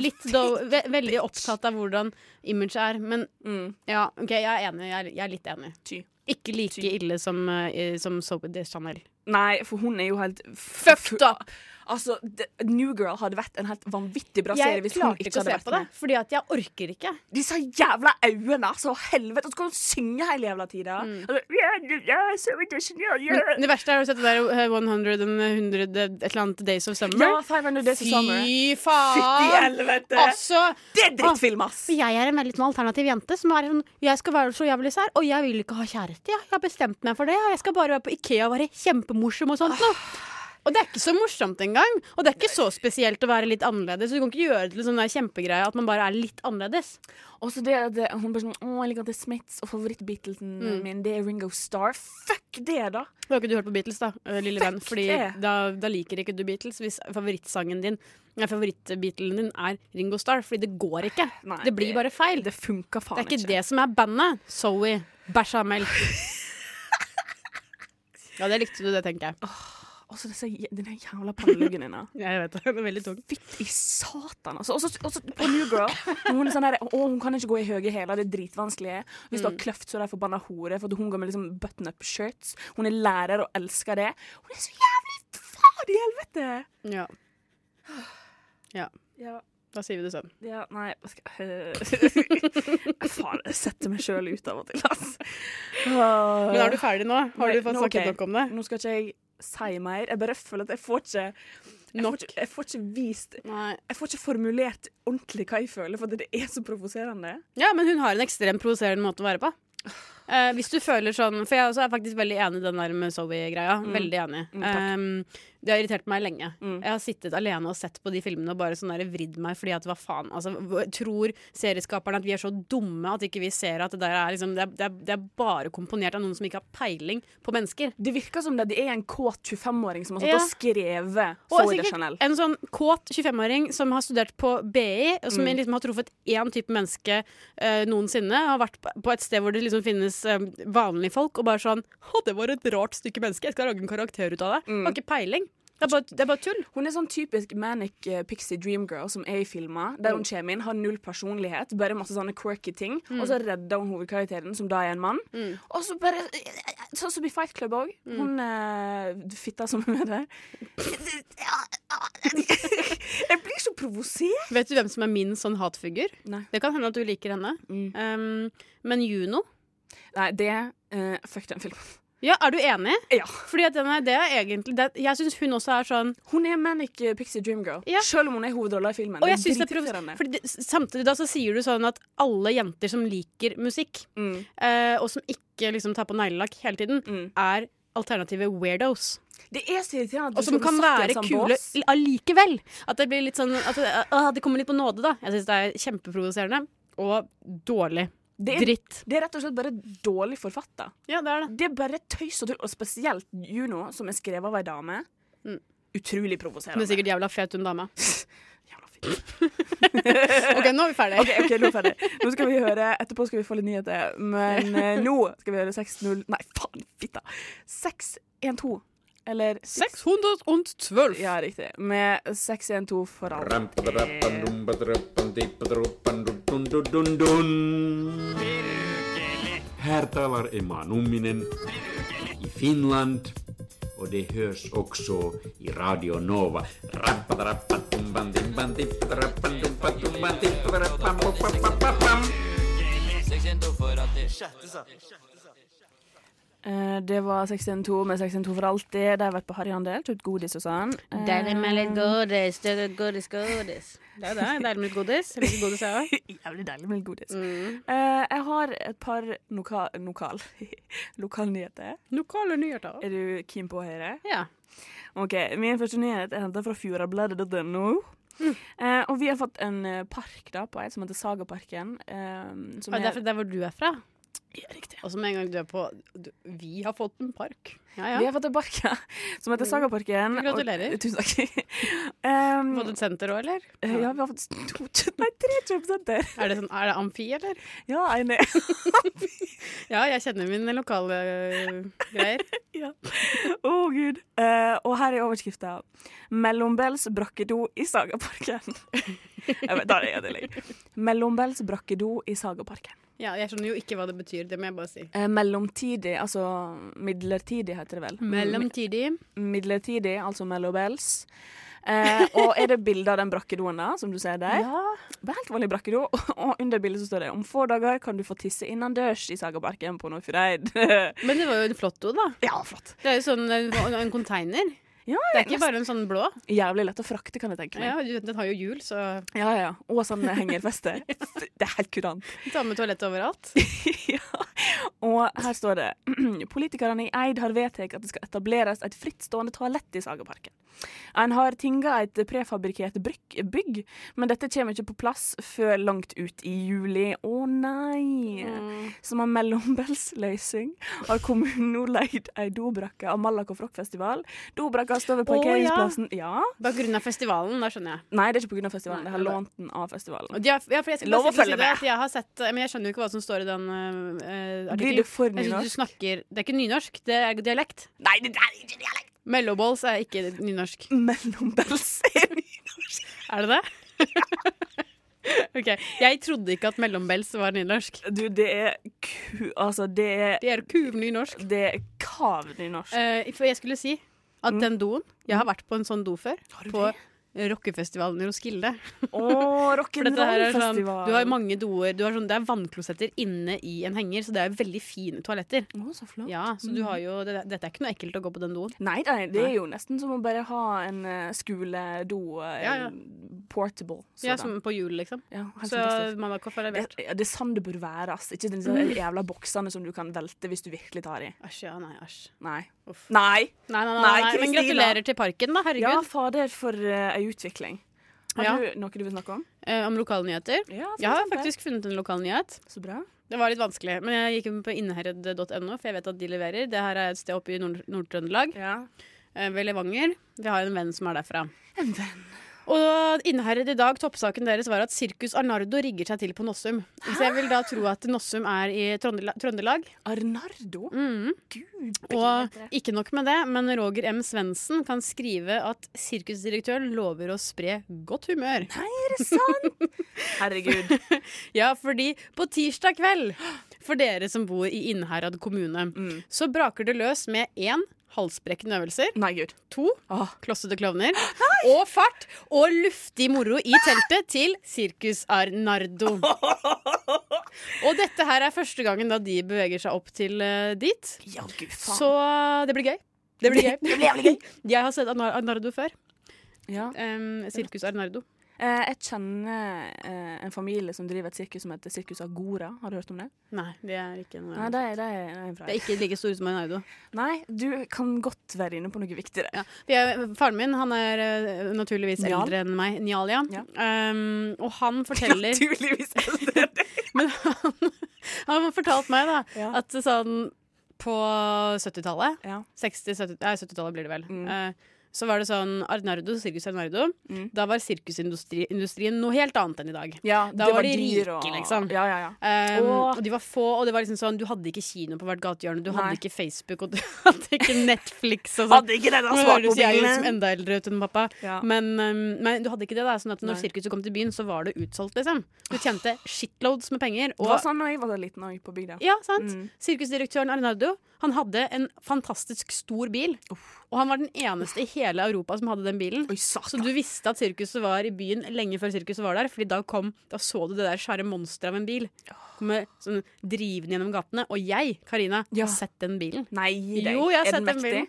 S7: Litt do, ve veldig opptatt av hvordan imaget er. Men
S6: Mm.
S7: ja, OK, jeg er enig. Jeg er, jeg er litt enig.
S6: Ty.
S7: Ikke like ille som, uh, som Soap de Chanel.
S6: Nei, for hun er jo helt
S7: Fucked up!
S6: Altså, The New Girl hadde vært en helt vanvittig bra serie
S7: Jeg
S6: hvis hun
S7: klarte
S6: ikke
S7: ikke å
S6: hadde
S7: se
S6: vært
S7: på det,
S6: med.
S7: fordi at jeg orker ikke.
S6: Disse jævla øynene, altså! Helvete! Og så kan hun synge hele jævla tida. Og så- Yeah, yeah, yeah, so international, yeah.
S7: Mm. Men det verste er å sette der eh, 100 and 100 et eller annet Days of Summer.
S6: Ja, 500 Days of Summer.
S7: Fy
S6: Fytti
S7: faen!
S6: helvete!
S7: Altså,
S6: Det er drittfilm, ass!
S7: jeg er en veldig sånn alternativ jente som er sånn Jeg skal være så jævlig sær, og jeg vil ikke ha kjæreste. Jeg, jeg har bestemt meg for det. Jeg skal bare være på Ikea og være kjempemorsom og sånt noe. Ah. Og det er ikke så morsomt engang. Og det er ikke så spesielt å være litt annerledes. Du kan ikke gjøre det til en sånn der kjempegreie at man bare er litt annerledes.
S6: Og så det at det- hun bare sånn Å, jeg liker The Smiths, og favoritt-Beatlesen min, det er Ringo Starr. Fuck det, da!
S7: Da har ikke du hørt på Beatles, da, eh, lille venn.
S6: Fuck
S7: Fordi
S6: det.
S7: da, da liker ikke du Beatles hvis favorittsangen din Nei, favorittbeatlen din er Ringo Starr. Fordi det går ikke.
S6: Nei,
S7: det blir bare feil.
S6: Det
S7: Det,
S6: funka faen
S7: er ikke det som er bandet. Zoe. Bechamel. Ja, det likte du, det, tenker
S6: Ah.
S7: jeg.
S6: Og så disse jæ- denne jævla panneluggen din, da.
S7: Jeg vet det. Det er veldig tung.
S6: Fytti satan, altså. Også, også på New Girl. Hun, er sånn der, å, hun kan ikke gå i høye hæler, det er dritvanskelig. Hvis du har kløft, så er det forbanna hore. For at hun går med liksom button up shirts. Hun er lærer og elsker det. Hun er så jævlig faen i helvete!
S7: Ja. ja.
S6: Ja,
S7: Da sier vi det sånn.
S6: ja, nei hva skal, øh. Faen, jeg setter meg sjøl ut av og til, ass.
S7: Men er du ferdig nå? Har du
S6: Nei,
S7: fått
S6: nå-
S7: snakket
S6: ok.
S7: nok om det?
S6: Nå skal ikke jeg si mer. Jeg bare føler at jeg får ikke Jeg får ikke, jeg får ikke vist
S7: Nei.
S6: Jeg får ikke formulert ordentlig hva jeg føler, for det er så provoserende.
S7: Ja, men hun har en ekstremt provoserende måte å være på. Eh, hvis du føler sånn For jeg også er faktisk veldig enig i den der med Zoe-greia. Veldig enig. Ehm, det har irritert meg lenge. Jeg har sittet alene og sett på de filmene og bare sånn der vridd meg fordi at hva faen altså, hva- Tror serieskaperne at vi er så dumme at ikke vi ser at det der er liksom Det er, det er, det er bare komponert av noen som ikke har peiling på mennesker.
S6: Det virker som det, det er en kåt 25-åring som har satt
S7: Ja.
S6: og skrevet
S7: Og
S6: Zoe de Chanel.
S7: sikkert en sånn kåt 25-åring som har studert på BI, og
S6: Mm.
S7: som liksom har truffet én type menneske eh, noensinne. Har vært på- på et sted hvor det liksom finnes eh, vanlige folk, og bare sånn Å, det var et rart stykke menneske. Jeg skal lage en karakter ut av det.
S6: Mm.
S7: Har ikke peiling. Det er bare, det er bare tull.
S6: Hun er sånn typisk manic eh, pixie dream girl som er i filmer, der
S7: Mm.
S6: hun kommer inn, har null personlighet, bare masse sånne quirky ting, og så redder hun hovedkarakteren, som da er en mann.
S7: Mm.
S6: Og så bare Sånn som i Fight Club òg. Hun eh, fitta som hun er der. Jeg blir så provosert!
S7: Vet du hvem som er min sånn hatfigur?
S6: Nei.
S7: Det kan hende at du liker henne. Um, men Juno
S6: Nei, det eh, Fuck den filmen.
S7: Ja, er du enig?
S6: Ja.
S7: Fordi at den er, det er egentlig det, Jeg syns hun også er sånn
S6: Hun er manic eh, pixie dream girl,
S7: Ja.
S6: selv om hun er hovedrolla i filmen.
S7: Og jeg synes det er
S6: dritirriterende.
S7: provos- fordi det- Samtidig da så sier du sånn at alle jenter som liker musikk,
S6: Mm.
S7: eh, og som ikke liksom tar på neglelakk hele tiden, er alternative weirdos.
S6: Det er så irriterende at
S7: Og
S6: du
S7: som
S6: skal
S7: kan
S6: bli satt i
S7: være
S6: en sånn
S7: kule
S6: bås.
S7: l- allikevel. At det blir litt sånn at det, ah, det kommer litt på nåde, da. Jeg syns det er kjempeprovoserende. Og dårlig.
S6: Det er-
S7: Dritt.
S6: Det er rett og slett bare dårlig forfatta.
S7: Ja, det er det.
S6: Det er bare tøys og tull, og spesielt Juno, som er skrevet av ei dame. Utrolig
S7: Hun Mm. er
S6: provoserende.
S7: sikkert jævla fet, hun dama.
S6: Jævla fint.
S7: OK, nå er vi ferdige.
S6: OK, ok, nå er vi ferdig. Nå skal vi høre, etterpå skal vi få litt nyheter, men eh, nå skal vi høre 6-0 Nei, faen, fitta! 6-1-2. Eller 6.
S7: 612.
S6: Ja, riktig. Med 6-1-2 for alle.
S2: Här talar Emma Numminen i Finland och det hörs också i Radio Nova.
S6: Eh, det var 612 med 612 for alltid. De har vært på Harryhandel, kjøpt godis og sånn. Eh,
S7: godis, godis, godis. Det er jo det. Deilig med litt godis. Jeg liker godis, jeg òg.
S6: Jævlig deilig med litt godis.
S7: Mm.
S6: Eh, jeg har et par noka lokal lokalnyheter.
S7: Lokale nyheter.
S6: Er du keen på å høre?
S7: Ja.
S6: Ok, Min første nyhet er henta fra fjordabladet.no.
S7: Hm.
S6: Eh, og vi har fått en eh, park da på Eid som heter Sagaparken. Eh, som
S7: Og det er fra der hvor du er fra.
S6: Ja, riktig.
S7: Og så med en gang du er på du, Vi har fått en park. Ja,
S6: Vi
S7: ja.
S6: har fått en park ja, som heter Sagaparken. og-
S7: Mm. Gratulerer.
S6: Tusen takk. Um,
S7: Fått et senter òg, eller?
S6: eh, ja, vi har fått to kjøtt- Nei, tre kjøpesenter!
S7: Er det, sånn, er det amfi, eller?
S6: Ja, jeg er med.
S7: Ja, jeg kjenner mine lokale øh, greier.
S6: Å, gud. Eh, og her er overskrifta. 'Mellombels brakkedo i Sagaparken'. jeg vet, da er det lenge. 'Mellombels brakkedo i Sagaparken'.
S7: Ja, jeg skjønner jo ikke hva det betyr, det må jeg bare si.
S6: Eh, mellomtidig, altså midlertidig, heter det vel.
S7: Mm. Mellomtidig.
S6: Midlertidig, altså mellombels. Eh, og er det bilde av den brakkedoen da, som du ser der? Det er Helt vanlig brakkedo. Og under bildet så står det 'Om få dager kan du få tisse innendørs i Sagaparken på Nordfjordeid'.
S7: Men det var jo en flott do, da.
S6: ja, flott.
S7: Det er jo sånn en, en container.
S6: Ja,
S7: det er ikke bare en sånn blå.
S6: Jævlig lett å frakte, kan jeg tenke meg.
S7: Ja, du- den har jo hjul, så
S6: Ja, ja. Og sånn hengerfeste. Det er helt kurant.
S7: ta med toalett overalt.
S6: ja. Og her står det Politikerne i Eid har vedtatt at det skal etableres et frittstående toalett i Sagaparken. En har tinga et prefabrikkert brykk- bygg, men dette kommer ikke på plass før langt ut i juli. Å nei!
S7: Mm.
S6: Som en mellombelsløsning har kommunen nå leid ei dobrakke av Malaco Frockfestival. Dobrakka står ved
S7: Å, ja.
S6: parkeringsplassen ja.
S7: Bare grunn av festivalen, da skjønner jeg.
S6: Nei, det er ikke pga. festivalen.
S7: Nei,
S6: De har
S7: det er-
S6: lånt den av festivalen.
S7: Og de har, ja, for jeg skal
S6: Lov å
S7: bare si- si
S6: følge
S7: det,
S6: med.
S7: at Jeg har sett, eh, men jeg skjønner jo ikke hva som står i den eh,
S6: Blir du
S7: artikkelen.
S6: for
S7: Jeg synes
S6: nynorsk?
S7: du snakker Det er ikke nynorsk, det er dialekt.
S6: Nei, det der er ikke dialekt!
S7: Mellowballs er ikke nynorsk.
S6: Mellombels er nynorsk.
S7: Er det det? OK. Jeg trodde ikke at mellombels var nynorsk.
S6: Du, det er ku... Altså, det er
S7: Det er kuvnynorsk.
S6: Det er kav nynorsk.
S7: Eh, for jeg skulle si at den doen Jeg har vært på en sånn do før.
S6: Mm. Har du
S7: På rockefestivalen i Roskilde.
S6: Å,
S7: For dette her er sånn,
S6: rock'n'roll-festival.
S7: du har mange doer. Du har sånn, det er vannklosetter inne i en henger, så det er veldig fine toaletter.
S6: Å, så flott.
S7: Ja, så du har jo, det, Dette er ikke noe ekkelt å gå på den doen.
S6: Nei, nei, det er jo nesten som å bare ha en eh, skoledo eh,
S7: Ja, ja.
S6: portable.
S7: Ja,
S6: Sådan.
S7: som på hjul, liksom.
S6: Ja, helt
S7: Så
S6: fantastisk.
S7: Malakoff har
S6: Det,
S7: levert.
S6: ja, det er sånn det bør være. ass. Ikke disse
S7: Mm.
S6: jævla boksene som du kan velte hvis du virkelig tar i.
S7: Æsj, ja. Nei, æsj.
S6: Nei.
S7: Uff.
S6: Nei!
S7: Nei, nei, nei,
S6: eh. Nei,
S7: nei, men
S6: Kristina.
S7: gratulerer til parken, da.
S6: Ja,
S7: Herregud.
S6: fader, for eh, ei utvikling. Har
S7: Ja.
S6: du noe du vil snakke om?
S7: Eh, om lokalnyheter.
S6: Ja, for
S7: Jeg har
S6: eksempel.
S7: faktisk funnet en lokal nyhet.
S6: Så bra.
S7: Det var litt vanskelig, men jeg gikk inn på innherred.no, for jeg vet at de leverer. Det her er et sted oppe i Nord- Nord-Trøndelag,
S6: Ja.
S7: eh, ved Levanger. Vi har en venn som er derfra. Og Innherred i dag, toppsaken deres var at Sirkus Arnardo rigger seg til på Nossum. Så jeg vil da tro at Nossum er i Trøndela- Trøndelag.
S6: Arnardo?
S7: Mhm.
S6: Gud,
S7: Og
S6: beklager.
S7: ikke nok med det, men Roger M. Svendsen kan skrive at sirkusdirektøren lover å spre godt humør.
S6: Er det sant? Herregud.
S7: Ja, fordi på tirsdag kveld, for dere som bor i Innherad kommune,
S6: Mm.
S7: så braker det løs med én halsbrekkende øvelser,
S6: Nei, gud.
S7: to
S6: Åh.
S7: klossete klovner og fart og luftig moro i teltet til Sirkus Arnardo. Og dette her er første gangen da de beveger seg opp til eh, dit,
S6: Ja, gud faen.
S7: så eh, det blir gøy. Det blir gøy. Jeg har sett Arnar- Arnardo før.
S6: Ja.
S7: em, Sirkus Arnardo.
S6: Eh, jeg kjenner eh, en familie som driver et sirkus som heter Sirkus Agora. Har du hørt om det?
S7: Nei, det er ikke noe
S6: Nei, det er, det er, det er
S7: Det
S6: fra.
S7: er ikke like store som Arnardo.
S6: Nei, du kan godt være inne på noe viktigere.
S7: Ja. For jeg, faren min han er eh, naturligvis
S6: Njal.
S7: eldre enn meg. Njal, ja.
S6: Ja.
S7: Um, og han forteller
S6: Naturligvis eldre.
S7: Men han, han har fortalt meg da
S6: Ja.
S7: at sånn på 70-tallet
S6: Ja.
S7: 60, 70, nei, 70-tallet blir det vel.
S6: Mm.
S7: eh, så var det sånn Arnardo, Sirkus Arnardo.
S6: Mm.
S7: Da var sirkusindustrien noe helt annet enn i dag.
S6: Ja,
S7: Da var de
S6: dyr
S7: rike, liksom.
S6: Ja, ja, ja.
S7: Um,
S6: Åh.
S7: og de var få, og det var liksom sånn du hadde ikke kino på hvert gatehjørne. Du
S6: Nei.
S7: hadde ikke Facebook, og du hadde ikke Netflix og sånn.
S6: Hadde ikke den
S7: Nå høres jeg ut som enda eldre ut enn pappa.
S6: Ja.
S7: Men, um, men du hadde ikke det. da Sånn at Når
S6: Nei.
S7: sirkuset kom til byen, så var det utsolgt. liksom Du tjente shitloads med penger.
S6: Det
S7: Og,
S6: var sånn da jeg var liten òg, på bygda.
S7: ja, sant?
S6: Mm.
S7: Sirkusdirektøren Arnardo Han hadde en fantastisk stor bil Og han var den eneste i hele Europa som hadde den bilen.
S6: Oi,
S7: Så
S6: satan.
S7: du visste at sirkuset var i byen lenge før sirkuset var der, Fordi da kom, da så du det der svære monsteret av en bil komme sånn drivende gjennom gatene. Og jeg, Karina,
S6: Ja.
S7: har sett den bilen.
S6: Nei, gi deg.
S7: Jo, jeg har
S6: er
S7: sett den
S6: mektig?
S7: bilen.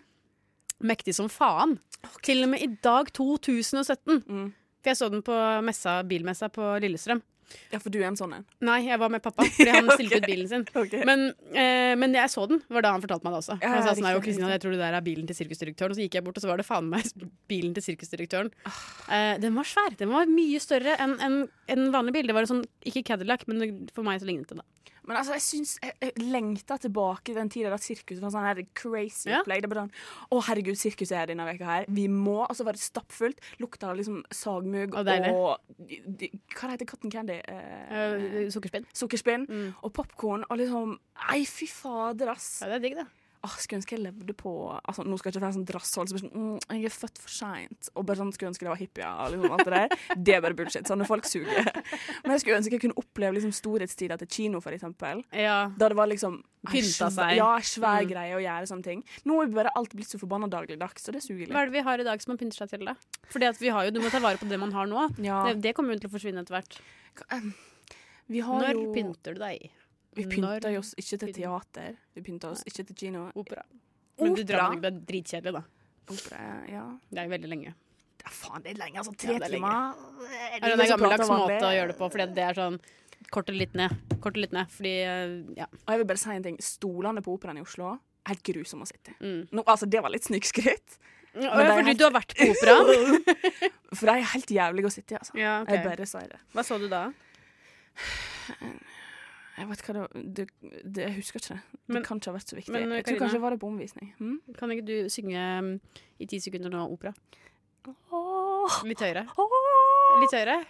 S7: Mektig som faen. Til og med i dag 2017.
S6: Mm.
S7: For jeg så den på messa, bilmessa på Lillestrøm.
S6: Ja, for du er en sånn en.
S7: Nei, jeg var med pappa, fordi han
S6: Ok.
S7: stilte ut bilen sin.
S6: Okay.
S7: Men, eh, men jeg så den, var da han fortalte meg det også.
S6: Ja,
S7: han sa
S6: riktig,
S7: sånn, «Nei, jo, Kristina,
S6: riktig.
S7: jeg tror det der er bilen til sirkusdirektøren. Og så gikk jeg bort, og så var det faen meg bilen til sirkusdirektøren.
S6: Ah.
S7: Eh, den var svær. Den var mye større enn en, en vanlig bil. Det var en sånn, ikke Cadillac, men det- for meg så lignet det da.
S6: Men altså, jeg syns jeg, jeg lengta tilbake til den tida da sirkus var sånn her crazy
S7: Ja.
S6: opplegg. Det var sånn Å, herregud, sirkuset er denne veka her. Vi må. Og så var det stappfullt. Lukta av liksom sagmugg
S7: Å,
S6: og,
S7: deilig.
S6: de, de, Hva heter katten Candy? Eh,
S7: Eh, sukkerspinn.
S6: Sukkerspinn
S7: Mm.
S6: og popkorn og liksom Nei, fy fader, ass.
S7: Ja, det er digg, det.
S6: Åh, Skulle ønske jeg levde på altså, Nå skal jeg ikke være sånn drasshold som er sånn mm, 'Jeg er født for seint', og bare sånn skulle ønske det var hippier og liksom alt det der. Det er bare bullshit. Sånne folk suger. Men jeg skulle ønske jeg kunne oppleve liksom, storhetstida til kino, for eksempel.
S7: Ja.
S6: Da det var liksom en sv-
S7: Pynta seg.
S6: Ja, en svær
S7: Mm.
S6: greie å gjøre sånne ting. Nå er bare alt blitt så forbanna dagligdags, og det suger litt.
S7: Hva er det vi har i dag som man pynter seg til, da? Fordi at vi har jo, du må ta vare på det man har nå.
S6: Ja,
S7: Det, det kommer jo til å forsvinne etter hvert.
S6: vi har
S7: Når
S6: jo
S7: pynter du deg?
S6: Vi pynter
S7: når-
S6: jo oss ikke til teater. Vi pynter oss ikke til kino.
S7: Opera. Men du drar
S6: Opera?
S7: med deg det er dritkjedelig, da.
S6: Opera, ja.
S7: Det er jo veldig lenge.
S6: ja faen, det er lenge, altså.
S7: Ja,
S6: Tre
S7: det er lenge.
S6: timer.
S7: Det er
S6: ingen
S7: en
S6: som
S7: gammeldags
S6: prater om
S7: måte
S6: det?
S7: å gjøre det på, fordi det er sånn kort og litt ned. Kort og litt ned, fordi eh, ja.
S6: Og jeg vil bare si en ting. Stolene på operaen i Oslo er helt grusomme å sitte i.
S7: Mm.
S6: Nå, altså, det var litt snikskritt,
S7: Å, ja,
S6: det er
S7: fordi
S6: helt-
S7: du har vært på operaen?
S6: for de er helt jævlige å sitte i. altså.
S7: ja,
S6: Jeg bare sier det.
S7: Hva så du da?
S6: Jeg vet hva det var. Det, det, jeg husker ikke det.
S7: Men-
S6: det kan ikke ha vært så viktig.
S7: men,
S6: jeg tror
S7: Karina?
S6: kanskje det var det på omvisning. Hm?
S7: Kan ikke du synge mm, i ti sekunder nå opera?
S6: Åh,
S7: Litt høyere.
S6: åh,
S7: Litt høyere.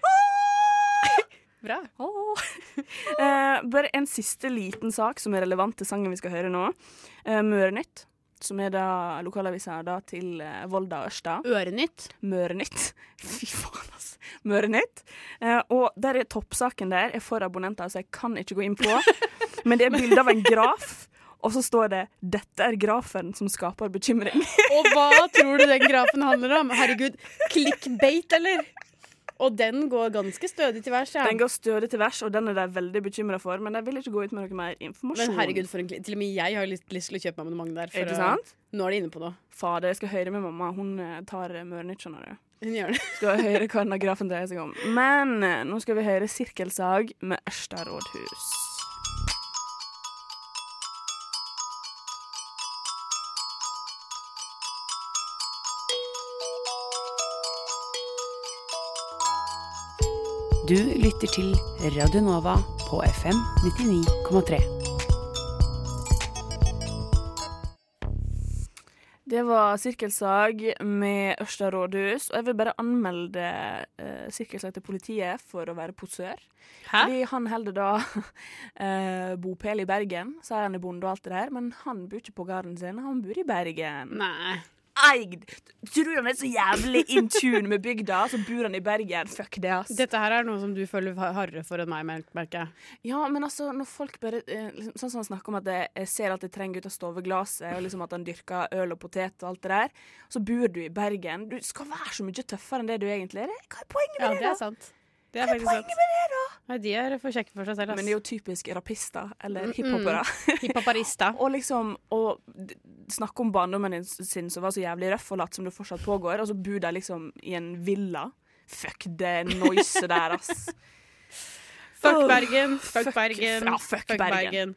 S7: Bra.
S6: åh. Eh, bare en siste liten sak som er relevant til sangen vi skal høre nå. Eh, Mørenytt, som er da lokalavisa da til eh, Volda og Ørsta.
S7: Ørenytt.
S6: Mørenytt. Fy faen, altså. Mørenytt. Eh, og der er toppsaken der er for abonnenter, så jeg kan ikke gå inn på. Men det er bilde av en graf, og så står det 'Dette er grafen som skaper bekymring'.
S7: Og hva tror du den grafen handler om? Herregud, clickbait, eller? Og den går ganske stødig til værs, ja.
S6: Den går stødig til vers, og den er de veldig bekymra for, men de vil ikke gå ut med noe mer informasjon.
S7: Men herregud, for en, kli- til og med jeg har lyst, lyst til å kjøpe meg abonnement der.
S6: Er
S7: For
S6: det
S7: å,
S6: sant?
S7: nå er de inne på noe.
S6: Fader, jeg skal høre med mamma. Hun eh, tar eh, Mørenytt, skjønner du.
S7: Hun gjør det.
S6: Skal høre hva denne grafen dreier seg om. Men eh, nå skal vi høre Sirkelsag med Ørsta rådhus.
S9: Du lytter til Radio Nova på FM 99,3.
S6: Det var Sirkelsag med Ørsta rådhus, og jeg vil bare anmelde eh, Sirkelsag til politiet for å være posør.
S7: Hæ?
S6: Fordi han holder da eh, bopel i Bergen, sier han er bonde og alt det der, men han bor ikke på gården sin, han bor i Bergen.
S7: Nei.
S6: Eid! Tror du han er så jævlig in tune med bygda, så bor han i Bergen? Fuck det, ass.
S7: Dette her er noe som du føler har- hardere for enn meg, mer- merker jeg.
S6: Ja, men altså, når folk bare eh, liksom, Sånn som han snakker om at jeg, jeg ser alt jeg trenger ut av stoveglasset, og liksom at han dyrker øl og potet og alt det der, så bor du i Bergen. Du skal være så mye tøffere enn det du egentlig er. Hva er poenget med
S7: Ja, det
S6: det?
S7: er sant. Det er faktisk sant. Nei, de er for kjekke for seg selv,
S6: da?
S7: ass.
S6: Men det er jo typisk rapister eller
S7: Mm,
S6: hiphopere.
S7: Hiphoparista.
S6: Og liksom å d- snakke om barndommen din sin som var så jævlig røff og latt som det fortsatt pågår, og så bor de liksom i en villa. Fuck det noiset der, ass.
S7: Fuck Bergen, fuck,
S6: Fuck-
S7: Bergen,
S6: ja, fuck Bergen.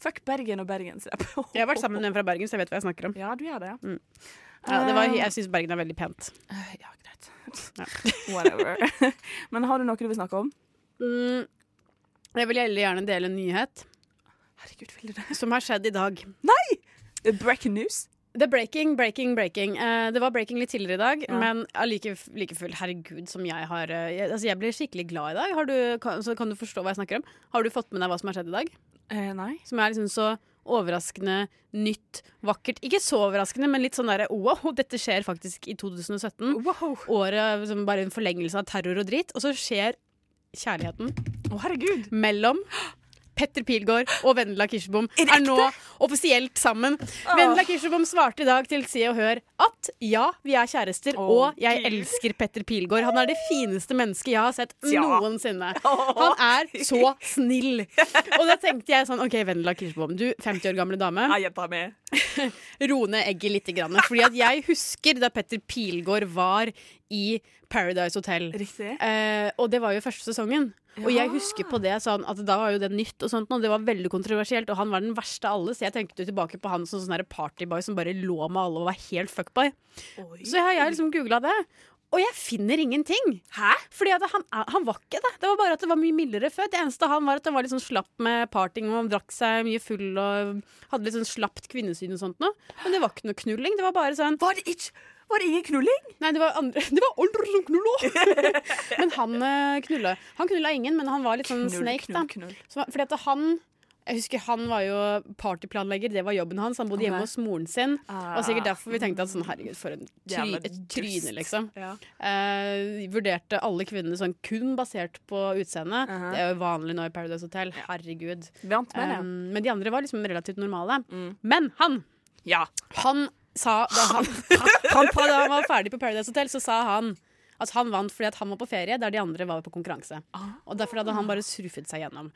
S6: Fuck Bergen og bergensrapp.
S7: Jeg har vært sammen med en fra Bergen, så jeg vet hva jeg snakker om.
S6: Ja, du gjør det.
S7: Mm. Ja, det var, jeg syns Bergen er veldig pent.
S6: Eh, Ja, greit.
S7: Ja.
S6: Whatever. Men har du noe du vil snakke om?
S7: Mm. Jeg vil veldig gjerne dele en nyhet
S6: Herregud, vil du det?
S7: som har skjedd i dag. Eh,
S6: Breaking news?
S7: Det er breaking, breaking, breaking. Eh, det var breaking litt tidligere i dag,
S6: Ja.
S7: men ja, like, like fullt, herregud, som jeg har eh, jeg, Altså, jeg blir skikkelig glad i dag. Har du, kan, så kan du forstå hva jeg snakker om. Har du fått med deg hva som har skjedd i dag?
S6: Eh, nei.
S7: Som er liksom så overraskende, nytt, vakkert. Ikke så overraskende, men litt sånn derre wow, dette skjer faktisk i 2017.
S6: Wow.
S7: Året som bare en forlengelse av terror og drit. Og så skjer kjærligheten
S6: Å, herregud.
S7: mellom Petter Pilgaard og Vendela Kirsebom
S6: Er det
S7: er nå offisielt sammen. Vendela Kirsebom svarte i dag til Se og Hør at ja, vi er kjærester, og jeg elsker Petter Pilgaard. Han er det fineste mennesket jeg har sett noensinne. Han er så snill. Og da tenkte jeg sånn OK, Vendela Kirsebom, du 50 år gamle dame.
S5: Nei, jenta mi.
S7: Ro ned egget lite grann. Fordi at jeg husker da Petter Pilgaard var i Paradise Hotel.
S6: Riktig.
S7: Eh, og det var jo første sesongen. Og jeg husker på det sånn at da var jo det nytt, og sånt, og det var veldig kontroversielt. Og han var den verste av alle, så jeg tenkte jo tilbake på han som sånn der partyboy som bare lå med alle og var helt fuckboy. Eh, Så har jeg liksom googla det. Og jeg finner ingenting. Hæ? Fordi at han, er- han var ikke det. Det var bare at det var mye mildere før. Det eneste han var at han var litt sånn slapp med parting og han drakk seg mye full og hadde litt sånn slapt kvinnesyn og sånt noe. Men det var ikke noe knulling. Det var bare sånn
S6: Var det ikke Var det ingen knulling?
S7: Nei, det var andre Det var andre som knulla! men han eh, knulla Han knulla ingen, men han var litt sånn snake, da.
S6: knull.
S7: Så, fordi at han Jeg husker han var jo partyplanlegger, det var jobben hans. Han bodde hjemme
S6: Ok.
S7: hos moren sin.
S6: Ah.
S7: Og sikkert derfor vi tenkte at sånn, herregud, for en try,
S5: Jævla
S7: et
S5: dust.
S7: tryne, liksom.
S6: Ja.
S7: Eh, vurderte alle kvinnene sånn kun basert på utseendet.
S6: Aha.
S7: Det er jo vanlig nå i Paradise Hotel. Herregud.
S6: Vant med det.
S7: Um, men de andre var liksom relativt normale. Men han!
S5: Ja.
S7: Han sa da han, han, han, da han var ferdig på Paradise Hotel, så sa han at han vant fordi at han var på ferie der de andre var på konkurranse. Og Derfor hadde han bare surfet seg gjennom.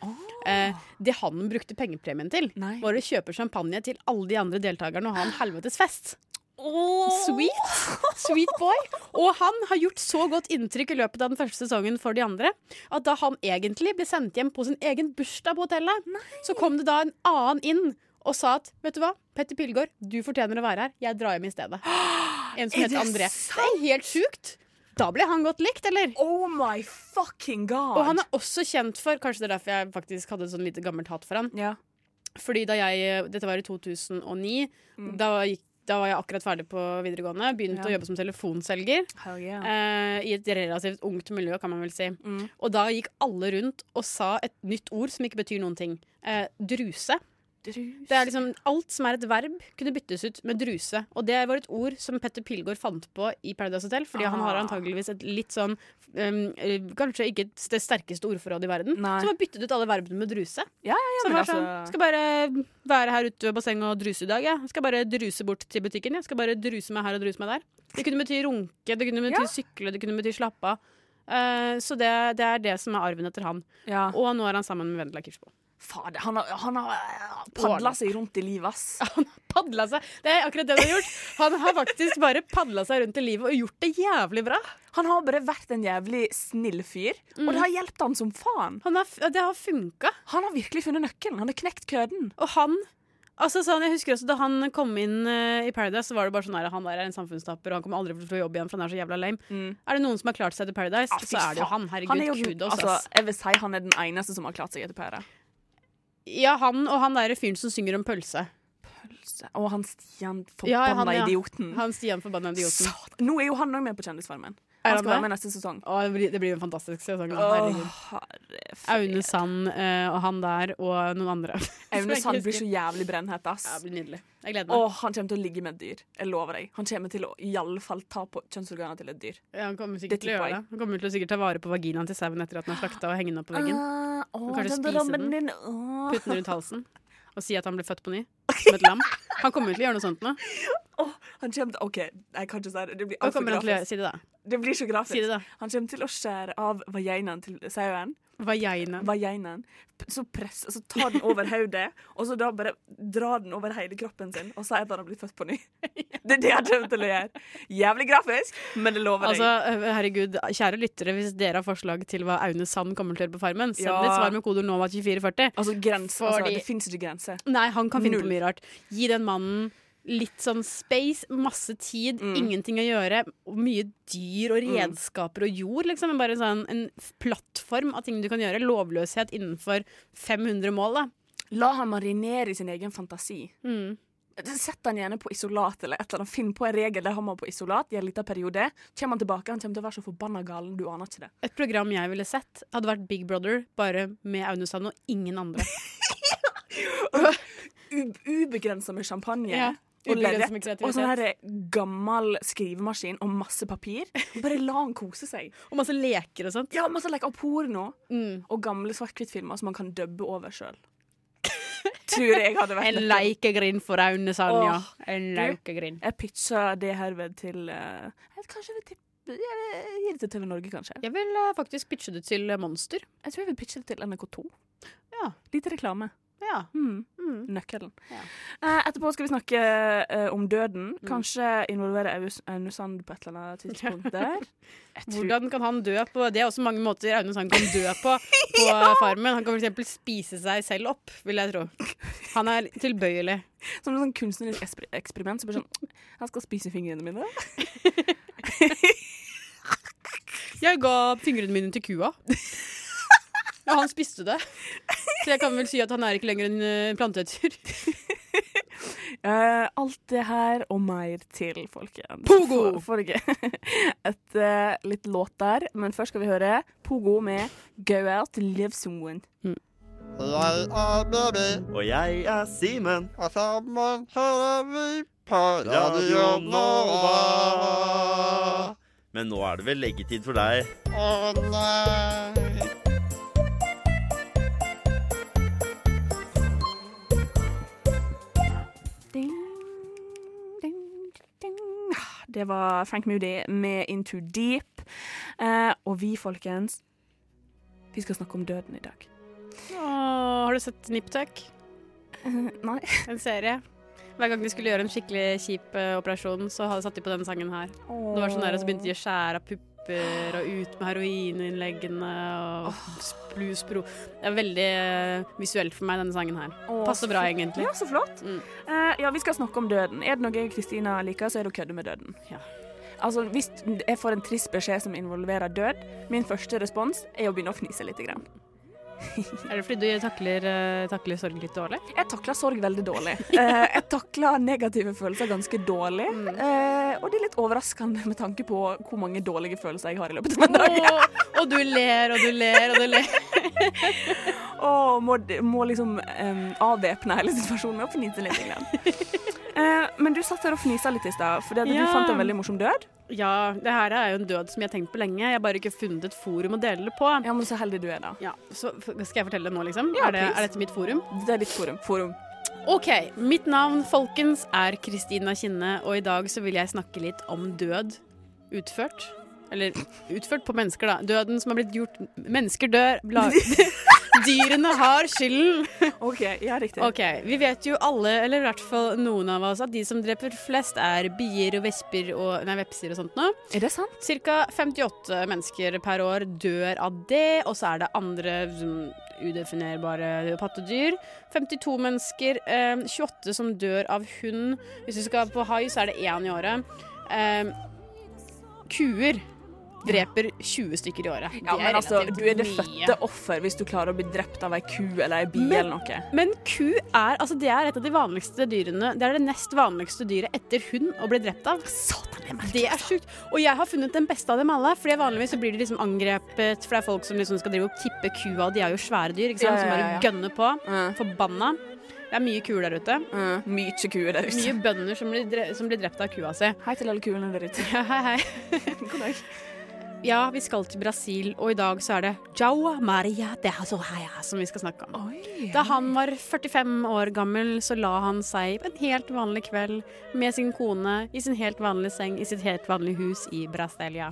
S7: Eh, det han brukte pengepremien til,
S6: Nei.
S7: var å kjøpe champagne til alle de andre deltakerne og ha en helvetes fest. Sweet. Sweet boy. Og han har gjort så godt inntrykk i løpet av den første sesongen for de andre at da han egentlig ble sendt hjem på sin egen bursdag på hotellet, så kom det da en annen inn og sa at vet du hva, Petter Pilgaard, du fortjener å være her, jeg drar hjem i stedet. En som
S6: Er det
S7: heter André. Det er helt sjukt! Da ble han godt likt, eller?
S6: Oh my fucking god!
S7: Og han er også kjent for Kanskje det er derfor jeg faktisk hadde sånn lite gammelt hat for han.
S6: ja.
S7: Fordi da jeg, dette var i 2009 da, gikk, da var jeg akkurat ferdig på videregående Begynte
S6: Mm. Ja.
S7: å jobbe som telefonselger
S6: Hell yeah. Mm.
S7: eh, I et relativt ungt miljø kan man vel si Og da gikk alle rundt og sa et nytt ord som ikke betyr noen ting eh, Druse
S6: Drus.
S7: det er liksom Alt som er et verb, kunne byttes ut med druse. Og det var et ord som Petter Pilgaard fant på i Paradise Hotel, fordi han har
S6: Ah.
S7: antageligvis et litt sånn um, eh, Kanskje ikke det sterkeste ordforrådet i verden.
S6: Nei.
S7: Som har byttet ut alle verbene med druse.
S6: Ja, ja,
S7: Så
S6: men
S7: det var
S6: altså-
S7: sånn, Skal bare være her ute ved bassenget og druse i dag, jeg. Skal bare druse bort til butikken. Jeg skal bare druse meg her og druse meg der. Det kunne bety runke, det kunne bety sykle, det kunne bety slappe av. Eh, så det, det er det som er arven etter han.
S6: ja.
S7: Og nå er han sammen med Vendela Kirsbo.
S6: Fader, han har, han har padla
S7: Ordentlig.
S6: seg rundt i livet, ass.
S7: padla seg Det er akkurat det han har gjort. Han har faktisk bare padla seg rundt i livet og gjort det jævlig bra.
S6: Han har bare vært en jævlig snill fyr,
S7: Mm.
S6: og det har hjulpet han som faen.
S7: Han har, f- det har funka.
S6: Han har virkelig funnet nøkkelen. Han har knekt køden.
S7: Og han Altså sånn, jeg husker også Da han kom inn eh, i Paradise, Så var det bare sånn her, han der er en samfunnstapper, og han kommer aldri til å få jobb igjen, for han er så jævla lame. Er det noen som har klart seg til Paradise,
S6: Mm. fy
S7: så er det jo
S6: faen.
S7: han. Herregud,
S6: er jo den-
S7: kudos.
S6: altså,
S7: ass.
S6: jeg vil si han er den eneste som har klart seg etter pæra.
S7: Ja, han og han derre fyren som synger om pølse.
S6: Og han Stian
S7: Ja, ja, han,
S6: forbanna
S7: ja.
S6: idioten.
S7: Han Stian forbanna idioten.
S6: Satan. Nå er jo han òg med på Kjendisfarmen.
S7: Er
S6: Han
S7: han
S6: skal være
S7: med?
S6: med neste sesong.
S7: Å, det blir- det blir jo en fantastisk sesong. da. Herregud.
S6: Åh, herre
S7: Aune Sand eh, og han der, og noen andre.
S6: Aune Sand blir så
S7: Som jeg ikke husker.
S6: jævlig brennhet,
S7: Ja,
S6: ass.
S7: det blir nydelig. Jeg gleder meg.
S6: Og han kommer til å ligge med et dyr. Jeg lover deg. Han kommer til å i alle fall ta på kjønnsorganene til et dyr.
S7: Ja, han kommer
S6: Det
S7: sikkert til
S6: tipper
S7: å gjøre det.
S6: jeg.
S7: Han kommer til å sikkert ta vare på vaginaen til sauen etter at den er slakta, og henge den opp på veggen.
S6: Ah, åh,
S7: kanskje
S6: den
S7: spise
S6: drømmen
S7: den.
S6: din, åh.
S7: Putte den rundt halsen og si at han ble født på ny som et lam. Han kommer jo til å gjøre noe sånt nå.
S6: Han kommer til OK, jeg kan ikke si det. Det blir
S7: Og
S6: altfor
S7: kommer han til å gjøre,
S6: grafisk.
S7: si det, da.
S6: Det blir så grafisk.
S7: Si det, da.
S6: Han kommer til å skjære av vaginaen til sauen.
S7: Vagina.
S6: Vaginaen. P- Så press, så tar den over hodet, og så da bare drar den over hele kroppen sin og sier at han har blitt født på ny. Det er det han kommer til å gjøre. Jævlig grafisk, men det lover
S7: Altså,
S6: jeg.
S7: herregud, kjære lyttere, hvis dere har forslag til hva Aune Sand kommer til å gjøre på Farmen, send
S6: Ja.
S7: et svar med kodeord NOVA2440.
S6: Altså, grens, altså,
S7: fordi-
S6: det fins ikke grenser.
S7: Nei, han kan finne
S6: Null.
S7: på mye rart. Gi den mannen litt sånn space, masse tid,
S6: Mm.
S7: ingenting å gjøre, og mye dyr og redskaper og jord, liksom. Men bare sånn, en f- plattform av ting du kan gjøre. Lovløshet innenfor 500 mål, da.
S6: La han marinere i sin egen fantasi.
S7: Mm.
S6: Sett han gjerne på isolat, eller et eller annet. Finn på en regel der han må på isolat i en liten periode. Kommer han tilbake, han kommer til å være så forbanna galen, du aner ikke det.
S7: Et program jeg ville sett, hadde vært Big Brother, bare med Aune Sand og ingen andre.
S6: U Ubegrensa med champagne.
S7: Ja.
S6: og
S7: Ubegrenset med
S6: lerret og sånn
S7: kreativitet.
S6: her gammel skrivemaskin og masse papir. Og bare la han kose seg.
S7: Og masse leker og sånt.
S6: Ja, masse like, og porno.
S7: Mm.
S6: Og gamle svart-hvitt-filmer som man kan dubbe over sjøl. Tror jeg hadde vært
S7: En
S6: nøkkelen.
S7: leikegrind for Aune Sanja.
S6: Åh,
S7: En leikegrind.
S6: Jeg pitcher det herved til eh, jeg- Kanskje jeg vil tippe jeg vil gi det til TV Norge, kanskje.
S7: Jeg vil eh, faktisk pitche det til Monster.
S6: Jeg tror jeg vil pitche det til NRK2.
S7: Ja.
S6: Litt reklame.
S7: Ja.
S6: Mm.
S7: Mm.
S6: Nøkkelen.
S7: Ja. Mm.
S6: Eh, etterpå skal vi snakke eh, om døden. Kanskje involvere Aus- Aune Sand på et eller annet tidspunkt der. Jeg tror-
S7: Hvordan kan han dø på Det er også mange måter Aune Sand kan dø på på Farmen. Han kan f.eks. spise seg selv opp, vil jeg tro. Han er tilbøyelig.
S6: Som et sånn kunstnerisk esper- eksperiment. Så bare sånn, Han skal spise fingrene mine.
S7: Jeg ga fingrene mine til kua. Og han spiste det. Så jeg kan vel si at han er ikke lenger en eh, planteeter.
S6: Eh, alt det her og mer til, folkens.
S7: Pogo!
S6: For, forrige- et eh, litt låt der, men først skal vi høre Pogo med 'Go Out Live Someone'.
S10: Jeg er Mary,
S4: Og jeg er Simen.
S10: og sammen hører vi på Radio Nova.
S4: Men nå er det vel leggetid for deg.
S10: Å nei.
S6: Ding, ding, ding. Det var Frank Moody med 'Into Deep'. Eh, og vi, folkens, vi skal snakke om døden i dag.
S7: Åh, har du sett Niptak?
S6: Eh, nei.
S7: En serie. Hver gang de skulle gjøre en skikkelig kjip eh, operasjon, så hadde- satte de på denne sangen her. Det var sånn der, og så begynte de å skjære av pupper og ut med heroininnleggene og spluspro. Det er veldig eh, visuelt for meg, denne sangen her.
S6: Å,
S7: Passer
S6: så
S7: bra,
S6: flott.
S7: egentlig.
S6: Ja, så flott.
S7: Mm.
S6: Eh, ja, vi skal snakke om døden. Er det noe Kristina liker, så er det å kødde med døden.
S7: Ja.
S6: Altså, Hvis jeg får en trist beskjed som involverer død, min første respons er å begynne å fnise litt. Grann.
S7: Er det fordi du takler, eh, takler sorg litt dårlig?
S6: Jeg takler sorg veldig dårlig. Eh, jeg takler negative følelser ganske dårlig. Eh, og det er litt overraskende med tanke på hvor mange dårlige følelser jeg har i løpet av en dag.
S7: Åh, og du ler og du ler og du ler.
S6: Og må, må liksom em, avvæpne hele situasjonen med å fnise litt. Grann. Eh, men du satt her og fnisa litt i stad, fordi at
S7: Ja.
S6: du fant en veldig morsom død.
S7: Ja, det her er jo en død som jeg har tenkt på lenge. Jeg har bare ikke funnet et forum å dele det på.
S6: Ja, men så heldig du er, da.
S7: Ja, så f- Skal jeg fortelle det nå, liksom?
S6: Ja,
S7: er, det,
S6: please.
S7: er dette mitt forum?
S6: Det er ditt forum. Forum.
S7: OK. Mitt navn, folkens, er Kristina Kinne, og i dag så vil jeg snakke litt om død utført. Eller utført på mennesker, da. Døden som har blitt gjort Mennesker dør. Bla Dyrene har skylden.
S6: OK, ja, riktig.
S7: OK. Vi vet jo alle, eller i hvert fall noen av oss, at de som dreper flest, er bier og vesper og Nei, vepser og sånt nå.
S6: Er det sant?
S7: Cirka 58 mennesker per år dør av det, og så er det andre mm, udefinerbare pattedyr. 52 mennesker, eh, 28 som dør av hund. Hvis du skal på hai, så er det én i året. Eh, kuer dreper 20 stykker i året.
S6: Ja, men altså,
S7: relativt
S6: du er det
S7: mye.
S6: fødte offer hvis du klarer å bli drept av ei ku eller ei bi
S7: Men-
S6: eller noe.
S7: Men ku er, altså, det er et av de vanligste dyrene. Det er det nest vanligste dyret etter hund å bli drept av.
S6: Satan, det er altså.
S7: Det er sjukt. Og jeg har funnet den beste av dem alle. Fordi vanligvis så blir de liksom angrepet, for det er folk som liksom skal drive og tippe kua. De er jo svære dyr, ikke sant?
S6: Ja, ja, ja, ja.
S7: som bare gønner på.
S6: Mm.
S7: Forbanna. Det er mye kuer der ute.
S6: Mm, mye kuer der ute.
S7: Mye bønder som blir, dre som blir drept av kua si.
S6: Hei til alle kuene der ute.
S7: Ja, hei, hei.
S6: God dag.
S7: Ja, vi skal til Brasil, og i dag så er det Jaua Maria de Azoreia som vi skal snakke om.
S6: Oi.
S7: Da han var 45 år gammel, så la han seg på en helt vanlig kveld med sin kone i sin helt vanlige seng i sitt helt vanlige hus i Brasilia.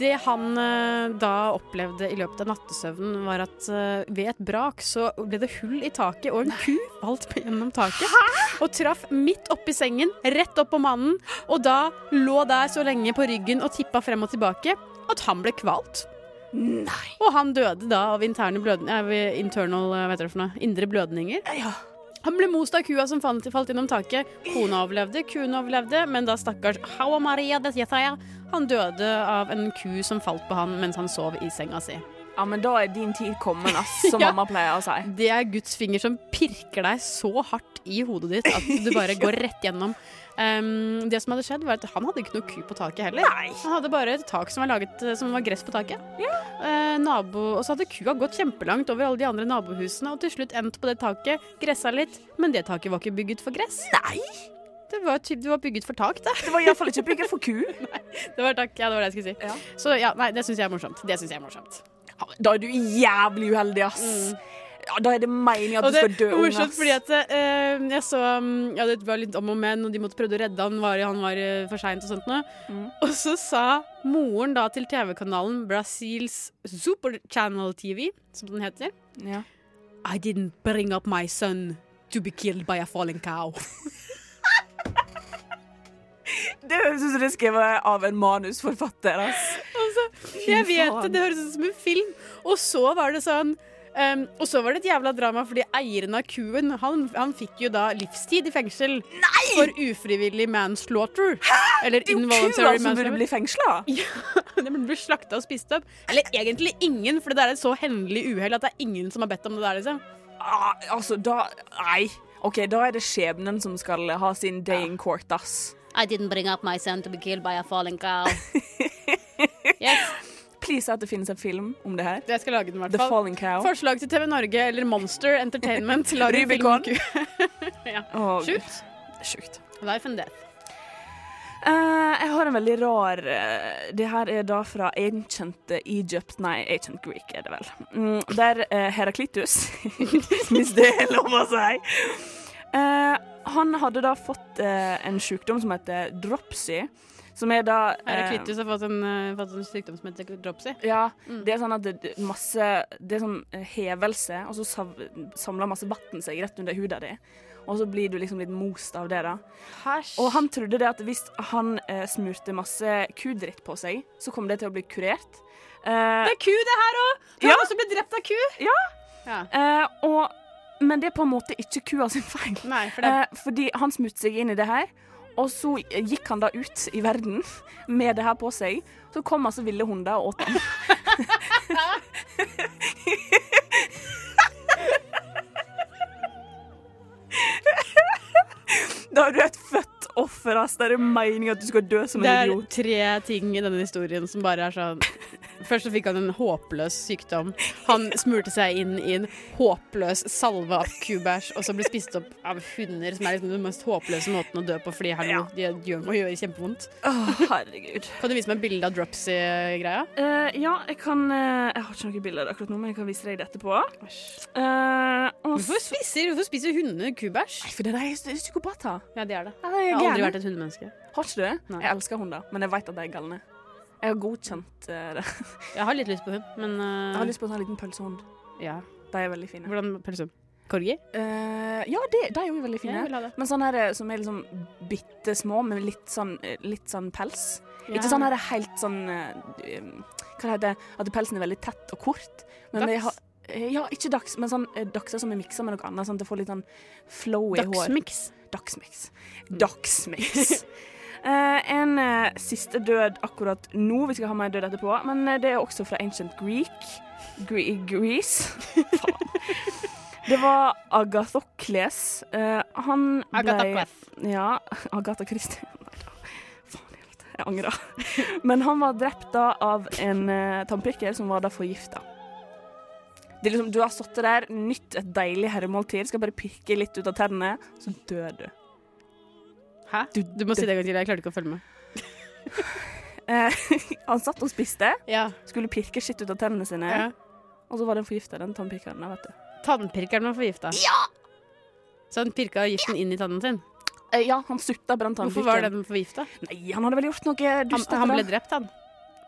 S7: Det han eh, da opplevde i løpet av nattesøvnen, var at eh, ved et brak så ble det hull i taket, og en ku falt gjennom taket og traff midt oppi sengen, rett opp på mannen, og da lå der så lenge på ryggen og tippa frem og tilbake at han ble kvalt.
S6: Nei.
S7: Og han døde da av interne blødninger Internal, eh, hva heter det for noe? Indre blødninger.
S6: Ja.
S7: Han ble most av kua som falt, falt gjennom taket. Kona overlevde, kuen overlevde, men da stakkars Hawa Maria de Jetaya, han døde av en ku som falt på han mens han sov i senga si.
S6: Ja, men da er din tid kommet, ass, som
S7: Ja.
S6: mamma pleier å si.
S7: Det er Guds finger som pirker deg så hardt i hodet ditt at du bare går rett gjennom. Um, det som hadde skjedd var at Han hadde ikke noe ku på taket heller. Han hadde bare et tak som var, laget, som var gress på taket. Eh, nabo, og så hadde kua gått kjempelangt over alle de andre nabohusene og til slutt endt på det taket, gressa litt, men det taket var ikke bygget for gress. Nei Det var, typ, det var bygget for tak, det.
S6: Det var iallfall ikke bygget for ku.
S7: nei, det var tak, ja, det var det jeg skulle si. Så ja, nei, det syns jeg er morsomt. Det synes jeg er morsomt.
S6: Da er du jævlig uheldig, ass. Ja, da er Mm. det meningen at
S7: Og
S6: du
S7: det
S6: skal dø
S7: var
S6: ung,
S7: morsomt
S6: ass.
S7: fordi at eh, jeg så mm, Ja, det var litt om og men, og de måtte prøvde å redde han, var, han var eh, for seint og sånt noe.
S6: Mm.
S7: Og så sa moren da til TV-kanalen Brasils Super Channel TV, som den heter
S6: Ja.
S7: I didn't bring up my son to be killed by a falling cow.
S6: Det høres ut som det er skrevet av en manusforfatter, ass.
S7: altså, jeg vet det, det høres ut som en film. Og så var det sånn ehm, Og så var det et jævla drama, fordi eieren av kuen, han, han fikk jo da livstid i fengsel. For ufrivillig manslaughter. Eller
S6: Det er jo kua
S7: involuntary
S6: som burde
S7: manslaughter.
S6: bli fengsla.
S7: Den burde bli slakta og spist opp. Eller egentlig ingen, for det der er et så hendelig uhell at det er ingen som har bedt om det der, liksom.
S6: Ah, altså, da Nei. OK, da er det skjebnen som skal ha sin day in court, ass.
S7: I didn't bring up my son to be killed by a falling cow. yes.
S6: Please at det finnes en film om det her.
S7: Jeg skal lage den, i hvert
S6: The
S7: fall.
S6: Falling Cow.
S7: Forslag til TV Norge eller Monster Entertainment. Lag en film om
S6: Rubicon.
S7: ku. ja.
S6: Å, Gud.
S7: Sjukt.
S6: Sjukt.
S7: Life and death.
S6: Eh, jeg har en veldig rar eh, Det her er da fra ancient Egypt Nei, ancient Greek er det vel. Mm, der eh, Heraklitus, hvis det er lov å si eh, Han hadde da fått eh, en sykdom som heter dropsy, som er da eh,
S7: Heraklitus Mm. har fått en, eh, fått en sykdom som heter dropsy.
S6: Ja, det er sånn at det, det- masse Det er sånn eh, hevelse, og så sav- samler masse vann seg rett under huda di. Og så blir du liksom litt most av det, da.
S7: Hæsj.
S6: Og han trodde det at hvis han eh, smurte masse kudritt på seg, så kom det til å bli kurert. Eh,
S7: Det er ku, det her òg! Du
S6: Ja.
S7: har også blitt drept av ku.
S6: Ja.
S7: Ja.
S6: eh, og, men det er på en måte ikke kua sin feil.
S7: Nei, for det
S6: Eh, fordi han smurte seg inn i det her, og så gikk han da ut i verden med det her på seg. Så kom altså ville hunder og åt den. Da er du et født offer, ass. Det er meningen at du skal dø som
S7: Det
S6: en
S7: er
S6: idiot.
S7: tre ting i denne historien som bare er sånn Først så fikk han en håpløs sykdom. Han smurte seg inn i en håpløs salve av kubæsj, og så ble spist opp av hunder, som er liksom den mest håpløse måten å dø på, fordi hallo, de gjør, må gjøre kjempevondt.
S6: Å, herregud.
S7: Kan du vise meg bilde av dropsy-greia?
S6: Eh, ja, jeg kan eh, Jeg har ikke noen bilder akkurat nå, men jeg kan vise deg det etterpå. Eh, og
S7: Hvorfor
S6: så-
S7: spiser, hvorfor spiser hunder kubæsj?
S6: Nei, for det der er psy- psykopater.
S7: Ja, det er det.
S6: Ja, de er
S7: Jeg har aldri
S6: gærne.
S7: vært et hundemenneske.
S6: Har ikke du?
S7: Nei.
S6: Jeg elsker hunder, men jeg vet at de er galne. Jeg har godkjent eh, det.
S7: Jeg har litt lyst på hund, men eh,
S6: Jeg har lyst på en sånn liten pølsehund.
S7: ja.
S6: De er veldig fine.
S7: Hvordan pølse? Korgi?
S6: Eh, ja, det, de er jo veldig fine.
S7: Jeg vil ha det.
S6: Men sånne her, som er liksom bitte små, med litt sånn, eh, litt sånn pels.
S7: Ja.
S6: Ikke sånn her helt sånn eh, um, Hva heter det? At pelsen er veldig tett og kort. Men de
S7: Dachs?
S6: har- eh, ja, ikke dags, men sånn eh, dachser som er miksa med noe annet, sånn at det får litt sånn flowy hår.
S7: Dagsmix.
S6: Dagsmix. Dagsmix. Eh, en eh, siste død akkurat nå. Vi skal ha mer død etterpå. Men eh, det er også fra Ancient Greek. Gre Greece. Faen. Det var Agathokles. Eh, han ble Ja, Agatha Christie. Nei da. Faen i helvete. Jeg angrer. Men han var drept da av en eh, tannprikker som var da forgifta. Det er liksom, du har sittet der, nytt et deilig herremåltid, skal bare pirke litt ut av tennene, så dør du.
S7: Hæ? Du, du må si det en gang til. Jeg klarte ikke å følge med.
S6: Eh, han satt og spiste,
S7: Ja.
S6: skulle pirke skitt ut av tennene sine,
S7: Ja.
S6: og så var den forgifta, den tannpirkeren. der, Vet du.
S7: Tannpirkeren var forgifta. Ja! Så han pirka giften inn i tannen sin.
S6: Eh, ja, han sutta på den
S7: Hvorfor
S6: tannpirkeren.
S7: var den forgifta?
S6: Nei, han hadde vel gjort noe
S7: Han,
S6: dust.
S7: han
S6: etter
S7: ble
S6: det.
S7: drept, han.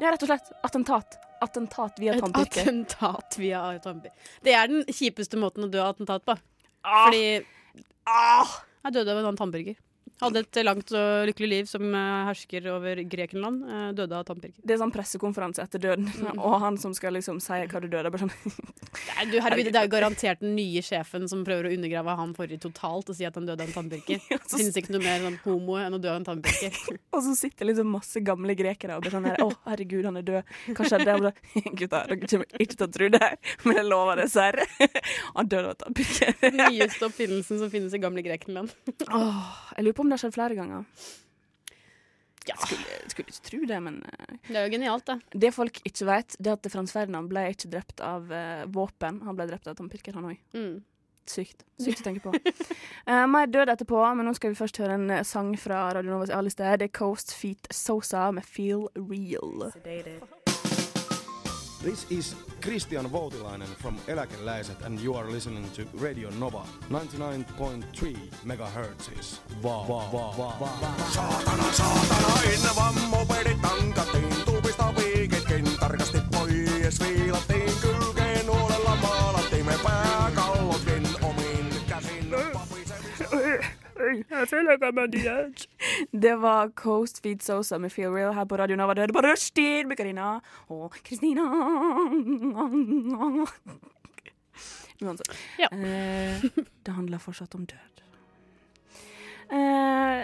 S6: Ja, rett og slett. Attentat. Attentat via
S7: Et
S6: tannpirker.
S7: attentat via tannpirker. Det er den kjipeste måten å dø av attentat på.
S6: Ah,
S7: Fordi
S6: ah.
S7: jeg døde av en annen tannpirker. Hadde et langt og lykkelig liv som eh, hersker over Grekenland. eh, Døde av tannpirker.
S6: Det er sånn pressekonferanse etter døden, og han som skal liksom si hva du døde av, bare sånn
S7: Nei, du, herregud, det er jo garantert den nye sjefen som prøver å undergrave han forrige totalt og si at han døde av en tannpirker. Det
S6: så-
S7: finnes ikke noe mer sånn homo enn å dø av en tannpirker.
S6: Og så sitter liksom masse gamle grekere og blir sånn her Å, herregud, han er død. Hva skjedde? Og da Gutta, dere kommer ikke til å tro det her, men jeg lover det, serr. Han døde av tannpirker.
S7: Den nyeste oppfinnelsen som finnes i gamle Grekenland.
S6: Jeg lurer på om det har skjedd flere ganger. Ja, skulle, skulle ikke tro det, men eh,
S7: Det er jo genialt, da.
S6: Det folk ikke vet, det er at Frans Ferdinand ble ikke drept av eh, våpen. Han ble drept av tannpirker, han òg.
S7: Mm.
S6: Sykt. Sykt å tenke på. Eh, Mai døde etterpå, men nå skal vi først høre en eh, sang fra Radio Novas A-liste. Det er Coast Feet Sosa med Feel Real.
S11: This is Christian Voutilainen from Eläkeläiset and you are listening to Radio Nova 99.3 megahertzes. Wow, wow, wow, wow, wow.
S12: Aina vammopedit tankattiin, tupista viiketkin tarkasti pois viilattiin. Kylkeen nuolella maalattiin me pääkallotkin omin käsin.
S6: Jeg føler ikke meg diet. Det var Coast Feet Sosa med Feel Real her på Radio Nova. Du hørte på Rushtid med Karina og Kristina. Uansett. Eh, det handler fortsatt om død. Eh,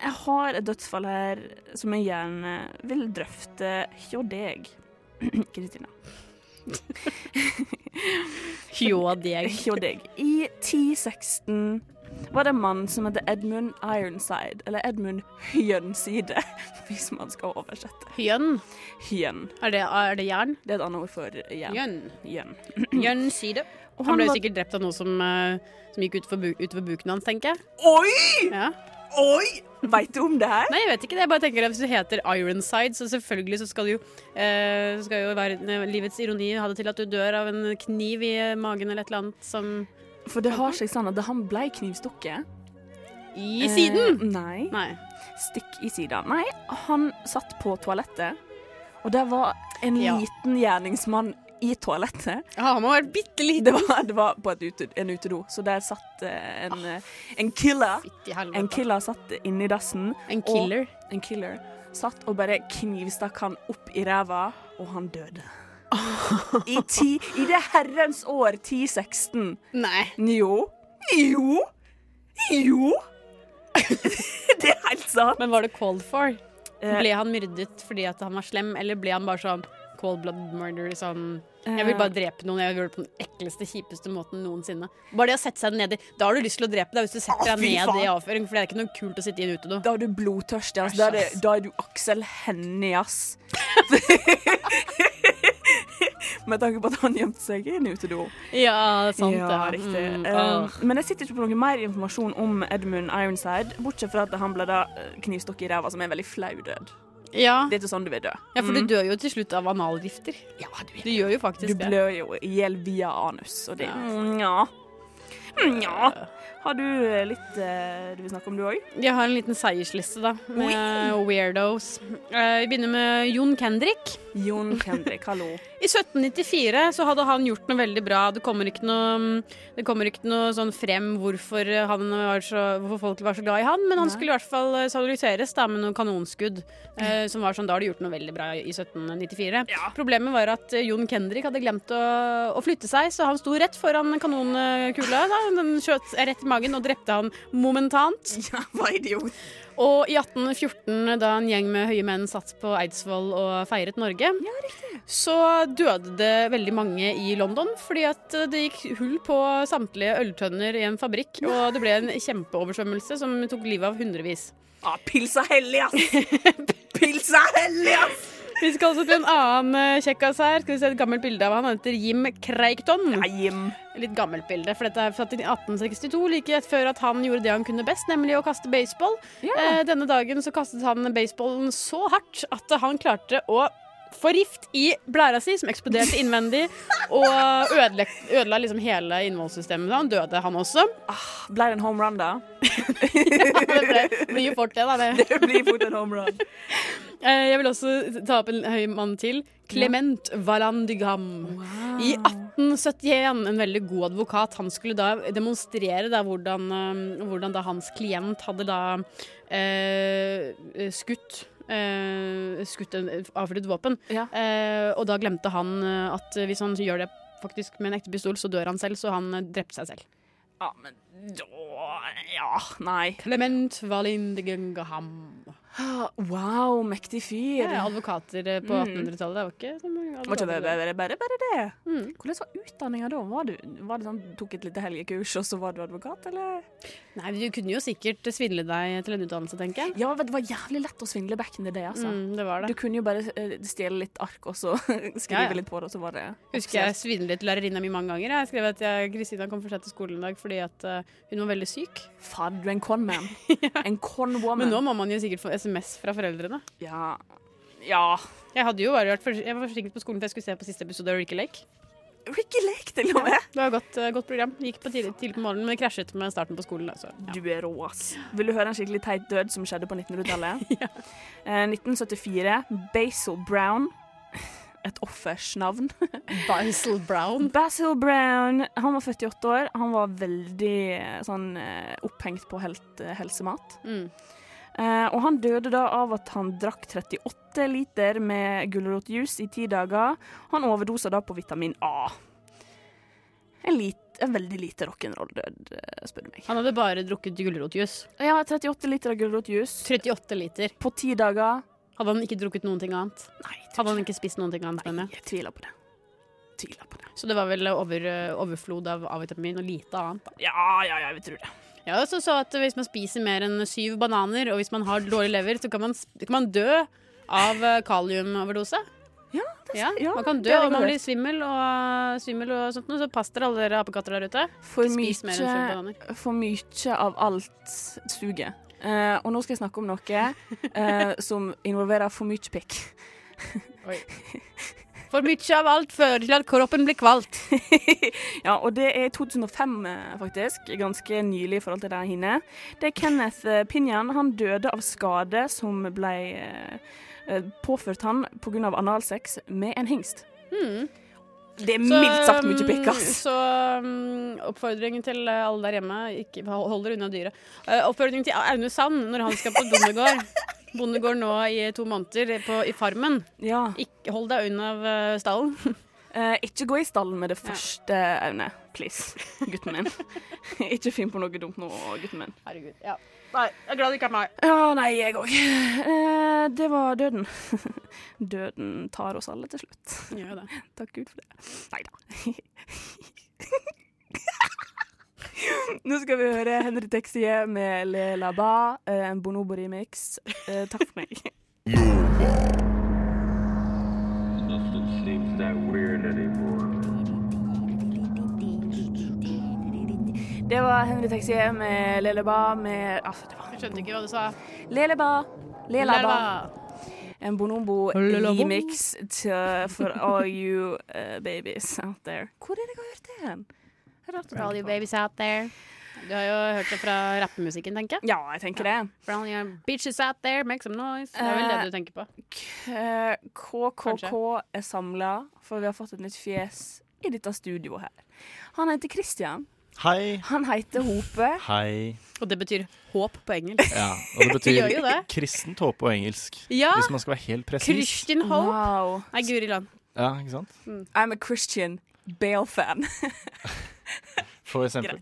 S6: jeg har et dødsfall her som jeg gjerne vil drøfte hjå deg, Kristina.
S7: Hjå deg.
S6: Hjå deg. I 1016 var det en mann som heter Edmund Ironside, eller Edmund Hyenside, hvis man skal oversette.
S7: Hjønn.
S6: Hyen.
S7: Er det, er det jern?
S6: Det er et annet ord for jern.
S7: Hjønn.
S6: Hyen.
S7: Jørn Syde.
S6: Og
S7: Han,
S6: han
S7: ble
S6: var-
S7: jo sikkert drept av noe som, eh, som gikk utover, bu utover buken hans, tenker jeg.
S6: Oi!
S7: Ja.
S6: Oi! Veit du om det her?
S7: Nei, jeg vet ikke det. Jeg bare tenker at Hvis du heter Ironside, så selvfølgelig så skal, det jo, eh, så skal jo verden, livets ironi ha det til at du dør av en kniv i eh, magen eller et eller annet som
S6: For det har seg sånn at han blei knivstukket.
S7: I siden!
S6: Eh, nei. Stikk i sida. Nei, han satt på toalettet, og der var en
S7: Ja.
S6: liten gjerningsmann i toalettet.
S7: Ja, han må ha vært bitte liten.
S6: Det var, det var på et ute, en utedo, så der satt eh, en, eh, en killer.
S7: helvete.
S6: En killer satt inni dassen.
S7: En killer?
S6: Og, en killer. Satt og bare knivstakk han opp i ræva, og han døde. I, ti, I det herrens år 1016.
S7: Nei.
S6: Jo. Jo. Jo. det er helt sant.
S7: Men var det called for?
S6: Eh.
S7: Ble han myrdet fordi at han var slem, eller ble han bare sånn cold blood murder? Sånn Jeg vil bare drepe noen. Jeg vil gjøre det på den ekleste, kjipeste måten noensinne. Bare det å sette seg ned i Da har du lyst til å drepe deg, hvis du setter
S6: Å,
S7: deg
S6: fy
S7: ned i
S6: faen.
S7: avføring, for det er ikke noe kult å sitte i en utedo.
S6: Da er du blodtørstig. ass. Da, er det, da er du Aksel Hennie, ass. Med tanke på at han gjemte seg i en utedo.
S7: Ja, sant
S6: ja,
S7: det.
S6: riktig.
S7: Mm,
S6: Um,
S7: åh.
S6: men jeg sitter ikke på noe mer informasjon om Edmund Ironside, bortsett fra at han ble da eh, knivstukket i ræva, som er en veldig flau død.
S7: Ja.
S6: Det er ikke sånn du vil dø.
S7: Ja, for
S6: Mm.
S7: du dør jo til slutt av analgifter.
S6: Ja, du,
S7: gjør jo faktisk
S6: Du
S7: det.
S6: blør jo i hjel via anus, og det
S7: Ja.
S6: Nja. Nja. Har du eh, litt eh, du vil snakke om, du òg?
S7: Jeg har en liten seiersliste, da, med weirdos. Eh, Vi begynner med Jon Kendrick.
S6: Jon Kendrick, hallo.
S7: I 1794 så hadde han gjort noe veldig bra. Det kommer ikke noe, det kommer ikke noe sånn frem hvorfor, han var så, hvorfor folk var så glad i han, men han
S13: Nei.
S7: skulle i hvert fall eh, salutiseres da, med noen kanonskudd. eh, som var sånn, Da har du gjort noe veldig bra i 1794. Problemet var at eh, Jon Kendrick hadde glemt å, å flytte seg, så han sto rett foran kanonkula. Da. Den skjøt rett i magen og drepte han momentant.
S6: Ja, hva idiot.
S7: Og i 1814, da en gjeng med høye menn satt på Eidsvoll og feiret Norge, så døde det veldig mange i London fordi at eh, det gikk hull på samtlige øltønner i en fabrikk, og det ble en kjempeoversvømmelse som tok livet av hundrevis.
S6: Ah, pils er hellig, ass! Pils er hellig, ass!
S7: Vi skal også til en annen eh, kjekkas her. Skal vi se et gammelt bilde av han. Han heter Jim Craikton. Litt gammelt bilde, for dette er satt inn i 1862, like et før at han gjorde det han kunne best, nemlig å kaste baseball. Eh, denne dagen så kastet han baseballen så hardt at han klarte å få rift i blæra si, som eksploderte innvendig, og ødela, ødela liksom hele innvollssystemet. Han døde, han også.
S6: Ble det en home run, da?
S7: det ble, blir fort det, da. Det.
S6: blir fort en home run.
S7: Eh, Jeg vil også ta opp en høy mann til. Clement Valandigam. I 1871, en veldig god advokat. Han skulle da demonstrere da hvordan, eh, hvordan da hans klient hadde da eh, skutt eh, skutt en avfyrt våpen. Eh, og da glemte han eh, at hvis han gjør det faktisk med en ekte pistol, så dør han selv, så han eh, drepte seg selv.
S6: Ah, Ja, men da Ja, nei.
S7: Clement Valandigam.
S6: Wow, mektig fyr.
S7: Ja, advokater eh, på
S6: Mm.
S7: 1800-tallet, det var ikke så mange
S6: Var ikke det
S7: advokater.
S6: bare, bare, bare det? Hvordan var utdanninga da? Var du, var det sånn, tok et lite helgekurs, og så var du advokat, eller?
S7: Nei, Du kunne jo sikkert svindle deg til en utdannelse, tenker jeg.
S6: Ja, men det var jævlig lett å svindle back in the day, altså.
S7: Mm, det var det.
S6: Du kunne jo bare eh, stjele litt ark, og så skrive
S7: Ja, ja.
S6: litt på det, og så var det
S7: Husker jeg svindlet lærerinna mi mange ganger. Jeg skrev at jeg- Kristina kom for sent til skolen i dag fordi at eh, hun var veldig syk.
S6: Fader, du er en con man. En con woman.
S7: Men nå må man jo sikkert få SMS fra foreldrene.
S6: Ja. ja.
S7: Jeg, hadde jo bare vært for, jeg var forsinket på skolen for jeg skulle se på siste episode av Ricky Lake.
S6: Ricky Lake, til og med!
S7: Det var et godt, eh, godt program. Gikk på tidlig, tidlig på morgenen, men krasjet med starten på skolen. altså. da, så, ja.
S6: Du er rå, ass. Vil du høre en skikkelig teit død som skjedde på 1900-tallet? Eh, 1974. Basil Brown. Et offers navn.
S7: Basil Brown?
S6: Basil Brown. Han var 48 år. Han var veldig eh, sånn eh, opphengt på helt, eh, helsemat.
S7: Mm.
S6: Eh, og han døde da av at han drakk 38 liter med gulrotjuice i ti dager. Han overdosa da på vitamin A. En, lit, en veldig lite rock'n'roll-død, eh, spør du meg.
S7: Han hadde bare drukket gulrotjuice.
S6: Ja, 38 liter av gulrotjuice.
S7: 38 liter.
S6: På ti dager.
S7: Hadde han ikke drukket noen ting annet?
S6: Nei,
S7: hadde han ikke spist noen ting annet, mener jeg?
S6: Jeg tviler på det. Tviler på det.
S7: Så det var vel over, eh, overflod av A-vitamin og lite annet, da.
S6: Ja, ja, ja, vi tror det.
S7: Jeg også så at hvis man spiser mer enn syv bananer, og hvis man har dårlig lever, så kan man, sp- kan man dø av eh, kaliumoverdose.
S6: Ja,
S7: ja,
S6: ja,
S7: man kan
S6: det
S7: dø,
S6: har jeg
S7: og man
S6: hørt.
S7: blir svimmel og, svimmel og sånt noe, så pass dere alle dere apekatter der ute.
S6: For
S7: Ikke Spis mer enn syv
S6: mye,
S7: bananer.
S6: for mye av alt suger. Eh, og nå skal jeg snakke om noe eh, som involverer for mye pikk.
S7: For mye av alt fører til at kroppen blir kvalt.
S6: ja, og det er i 2005, eh, faktisk. Ganske nylig i forhold til der hinne. Det er Kenneth eh, Pinjan. Han døde av skade som ble eh, eh, påført han pga. analsex med en hingst.
S7: Mm.
S6: Det er
S7: Så,
S6: mildt sagt mye
S7: mm,
S6: pikk, ass.
S7: Så mm, oppfordring til eh, alle der hjemme, ikke, hold hold dere unna dyret. Eh, oppfordring til Aune Sand når han skal på bondegård. Bondegård nå i to måneder på, i Farmen. Ikke, hold deg unna eh, stallen.
S6: Eh, ikke gå i stallen med det første, Aune. Please, gutten min. ikke finn på noe dumt nå, gutten min.
S7: Herregud, ja. Nei, jeg er glad det ikke er meg.
S6: Ja, nei, jeg òg. Eh, det var døden. døden tar oss alle til slutt.
S7: Gjør det.
S6: Takk Gud for det. Nei da. Nå skal vi høre Henry Texie med Le La Ba, eh, en bonobo-remix. Eh, takk for meg.
S13: Nothing seems that weird anymore.
S6: Det var Henry Texie med Le La Ba med Altså, det var
S7: Jeg skjønte ikke hva du sa.
S6: Leleba. Lelaba.
S7: Lelaba.
S6: En bonobo
S7: Lelabo.
S6: remix til- for all you eh, babies out there. Hvor er det jeg har hørt det hen? Jeg har hørt det
S7: For all you
S6: på.
S7: babies out there. Du har jo hørt det fra rappemusikken, tenker jeg.
S6: Ja, jeg tenker det.
S7: For all your bitches out there, make some noise. Det er vel det
S6: Eh,
S7: du tenker på.
S6: Eh, KKK
S7: Kanskje.
S6: er samla, for vi har fått et nytt fjes i dette studioet her. Han heter Christian.
S14: Hei.
S6: Han heter Hope.
S14: Hei.
S7: Og det betyr håp på engelsk.
S14: Ja, og det betyr
S7: Gjør jo det.
S14: kristent håp på engelsk.
S7: Ja.
S14: Hvis man skal være helt presis.
S7: Christian Hope.
S6: Wow.
S7: Nei, Guri land.
S14: Ja, ikke sant?
S6: I'm a Christian Bale-fan.
S14: For eksempel.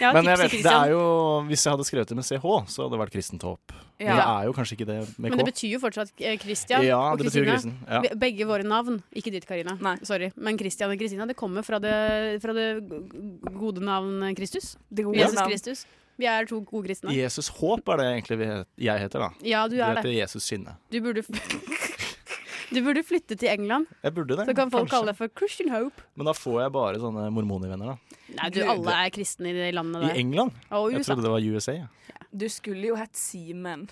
S6: Ja,
S14: Men
S6: tips til
S14: jeg vet, det
S6: Christian.
S14: er jo, hvis jeg hadde skrevet det med CH, så hadde det vært kristent håp. Men
S7: Ja.
S14: det er jo kanskje ikke det med
S7: Men det
S14: K.
S7: betyr jo fortsatt eh, Christian
S14: Ja,
S7: og
S14: det betyr
S7: Kristina.
S14: Kristen, ja.
S7: Be- Begge våre navn. Ikke ditt, Karina. Sorry. Men Christian og Kristina, det kommer fra det, fra det gode navn eh, Kristus.
S6: Det
S14: gode
S7: Jesus
S14: navn.
S7: Kristus. Vi er to gode kristne.
S14: Jesus Håp er det egentlig vi het- jeg heter, da.
S7: Ja, du er
S14: heter
S7: det.
S14: Jesus Skinne.
S7: Du burde, du burde flytte til England.
S14: Jeg burde det.
S7: Så kan folk
S14: kanskje.
S7: kalle deg for Christian Hope.
S14: Men da får jeg bare sånne mormonivenner, da.
S7: Nei, du,
S14: Gud.
S7: alle er kristne i det landet
S14: I
S7: der.
S14: England?
S7: Og
S14: Jeg
S7: USA.
S14: trodde det var USA. Ja.
S6: Du skulle jo hett Simen.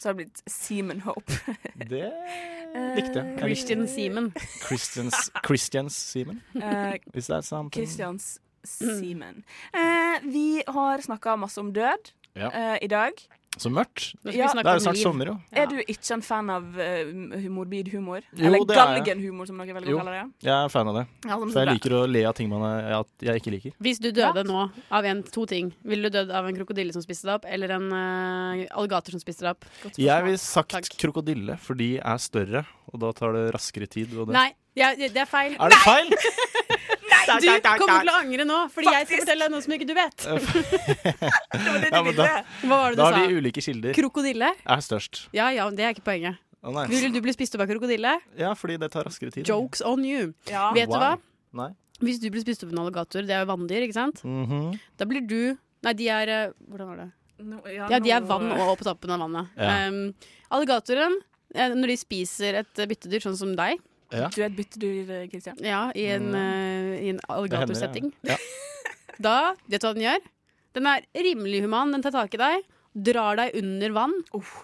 S6: Så har det blitt Simen Hope.
S14: Det likte jeg. Jeg
S7: Eh, Christian Simen.
S14: Christians, Christians Simen?
S6: Eh,
S14: Is that something?
S6: Christians
S14: Mm.
S6: Simen. Eh, vi har snakka masse om død
S14: Ja.
S6: eh, i dag.
S14: Så mørkt.
S6: Ja.
S14: det er jo snart sommer, jo.
S6: Er du ikke en fan av eh, m- morbid humor?
S14: Jo,
S6: Eller
S14: det er jeg.
S6: galgenhumor, som noen velger
S14: Jo,
S6: å kalle det.
S14: jeg er fan av det.
S6: Ja, som
S14: For jeg
S6: bra.
S14: liker å le av ting man er, at jeg ikke liker.
S7: Hvis du døde nå av en, to ting, ville du dødd av en krokodille som spiste deg opp, eller en eh, alligator som spiste deg opp?
S14: Jeg vil sagt krokodille, for de er større, og da tar det raskere tid. Og det. Ah,
S7: Nei, jeg, det er feil.
S14: Er det feil?
S7: Nei! Du kommer til å angre nå, fordi jeg skal fortelle deg noe som ikke du vet.
S14: Ja, men da,
S7: Hva var det du
S14: da
S7: sa?
S14: har vi ulike kilder.
S7: Krokodille?
S14: Er størst.
S7: Ja ja, det er ikke poenget.
S14: Å, nei.
S7: Vil du bli spist opp av krokodille?
S14: Ja, fordi det tar raskere tid.
S7: Jokes on you.
S14: Ja.
S7: Vet du
S14: Why?
S7: hva?
S14: Nei.
S7: Hvis du blir spist opp av en alligator, det er jo vanndyr, ikke sant?
S14: Mhm.
S7: Da blir du Nei, de er eh, Hvordan var det?
S6: No,
S7: Ja, de er vann og på toppen av vannet.
S14: Ja.
S7: Um, alligatoren, eh, når de spiser et eh, byttedyr, sånn som deg
S14: Ja.
S6: Du er et byttedyr, eh, Kristian.
S7: Ja, i en,
S14: Mm.
S7: eh, i en alligatorsetting.
S14: Det hender, ja.
S7: Da, vet du hva den gjør? Den er rimelig human. Den tar tak i deg, drar deg under vann,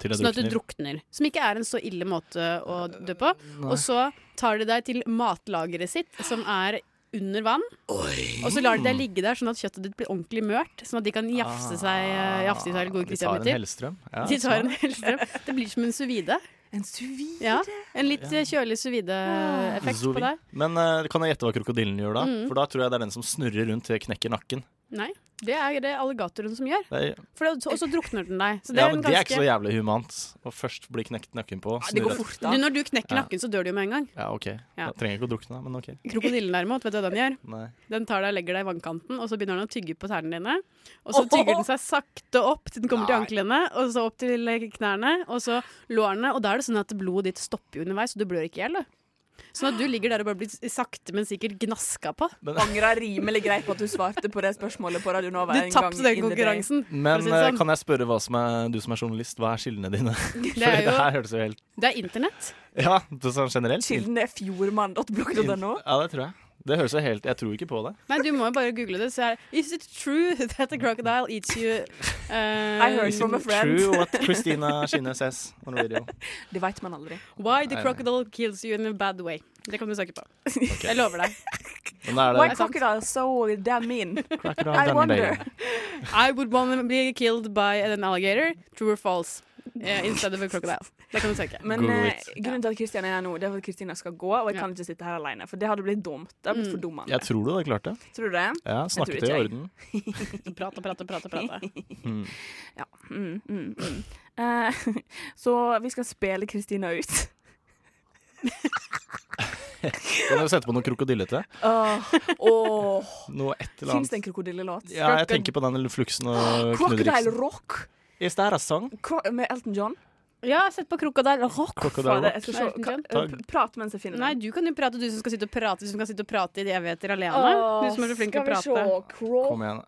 S14: Til jeg
S7: sånn at du
S14: drukner.
S7: drukner. Som ikke er en så ille måte å dø på.
S14: nei.
S7: Og så tar de deg til matlageret sitt, som er under vann. Og så lar de deg ligge der, sånn at kjøttet ditt blir ordentlig mørt. Sånn at de kan jafse seg, eh, jafse i seg gode
S14: Ah, De tar en
S7: kristianetter.
S14: hellstrøm. Ja, sånn.
S7: De tar en
S14: smart.
S7: helstrøm. Det blir som en suvide.
S6: En suvide?
S7: Ja, en litt
S14: Ja.
S7: eh, kjølig suvide-effekt
S14: Zoe.
S7: på deg.
S14: Men eh, kan jeg gjette hva krokodillen gjør da?
S7: Mm.
S14: For da tror jeg det er den som snurrer rundt til jeg knekker nakken.
S7: Nei, det er det alligatoren som gjør.
S14: Det er,
S7: For det, og så drukner den deg. Så det
S14: ja,
S7: er
S14: men
S7: en
S14: det er ikke
S7: ganske
S14: så jævlig humant å først bli knekt nakken på.
S7: det går
S14: snurre-
S7: fort, da. Du, når du knekker nakken, så dør du jo med en gang.
S14: Ja, OK.
S7: Ja.
S14: Da trenger jeg ikke å drukne, men OK.
S7: Krokodillen derimot, vet du hva den gjør?
S14: Nei.
S7: Den tar deg og legger deg i vannkanten, og så begynner den å tygge på tærne dine. Og så tygger den seg sakte opp til den kommer til anklene, og så opp til eh, knærne, og så lårene. Og da er det sånn at blodet ditt stopper jo underveis, og du blør ikke i hjel. du. Sånn at du ligger der og bare blir sakte, men sikkert gnaska på.
S6: Angra rimelig greit på at du svarte på det spørsmålet på Radio Nova.
S7: Du
S6: en
S7: tapte
S6: gang
S7: den
S6: in the day.
S7: konkurransen.
S14: Men
S7: for å si det
S14: eh,
S7: sånn.
S14: kan jeg spørre hva som er, du som er journalist, hva er kildene dine? Fordi
S7: Det er jo-
S14: det her hørtes jo helt
S7: Det er internett.
S14: Ja, det er sånn generelt.
S6: Kilden er fjordmann.blogg.no.
S14: Ja, det tror jeg. Det høres jo helt Jeg tror ikke på det.
S7: Nei, du må jo bare google det. Så er, Is it true that a crocodile eats you? eh,
S14: Is it True what Christina Skinne says on radio.
S6: Det veit man aldri.
S7: Why the
S14: Nei, nei.
S7: crocodile kills you in a bad way. Det kan du søke på. Jeg lover deg.
S14: Men da er
S6: Why
S14: det
S6: crocodile so damn mean?
S14: Crocodile
S6: I
S14: Dundee.
S6: wonder.
S7: I would want to be killed by an alligator. True or false? eh, instead of a crocodile. Det kan du søke.
S6: Men eh, grunnen til at Kristian er her nå, Det er for at Kristina skal gå, og jeg kan ikke sitte her alene. For det hadde blitt dumt. Det hadde blitt
S7: Mm.
S6: for dummende.
S14: Jeg tror du hadde klart det.
S6: Tror du det?
S14: Ja,
S6: Jeg tror
S14: snakket
S6: ikke
S14: i
S6: jeg.
S14: orden.
S7: Prate, prate, prate. prate.
S14: Mm.
S6: Ja. Mm, mm, mm. Eh, så vi skal spille Kristina ut.
S14: Kan du sette på noe krokodillete?
S6: Åh, åh.
S14: Noe et eller
S6: Fins
S14: annet.
S6: det en krokodillelåt?
S14: Ja, jeg tenker på den fluksen og
S6: Crocodile
S14: Knudriksen.
S6: Rock
S14: Is that a song?
S6: Cro- med Elton John.
S7: Ja, sett på Crocodile Rock.
S14: Crocodile
S6: Fader,
S14: Rock.
S6: jeg skal se. Kan-
S14: Takk.
S6: eh, Prat mens jeg finner
S7: Nei,
S6: den.
S7: du kan jo prate, du som skal sitte og prate, du som kan sitte og prate i evigheter alene.
S6: Åh,
S7: du som er så flink til å prate.
S6: Skal vi se. Cro-
S14: Kom igjen.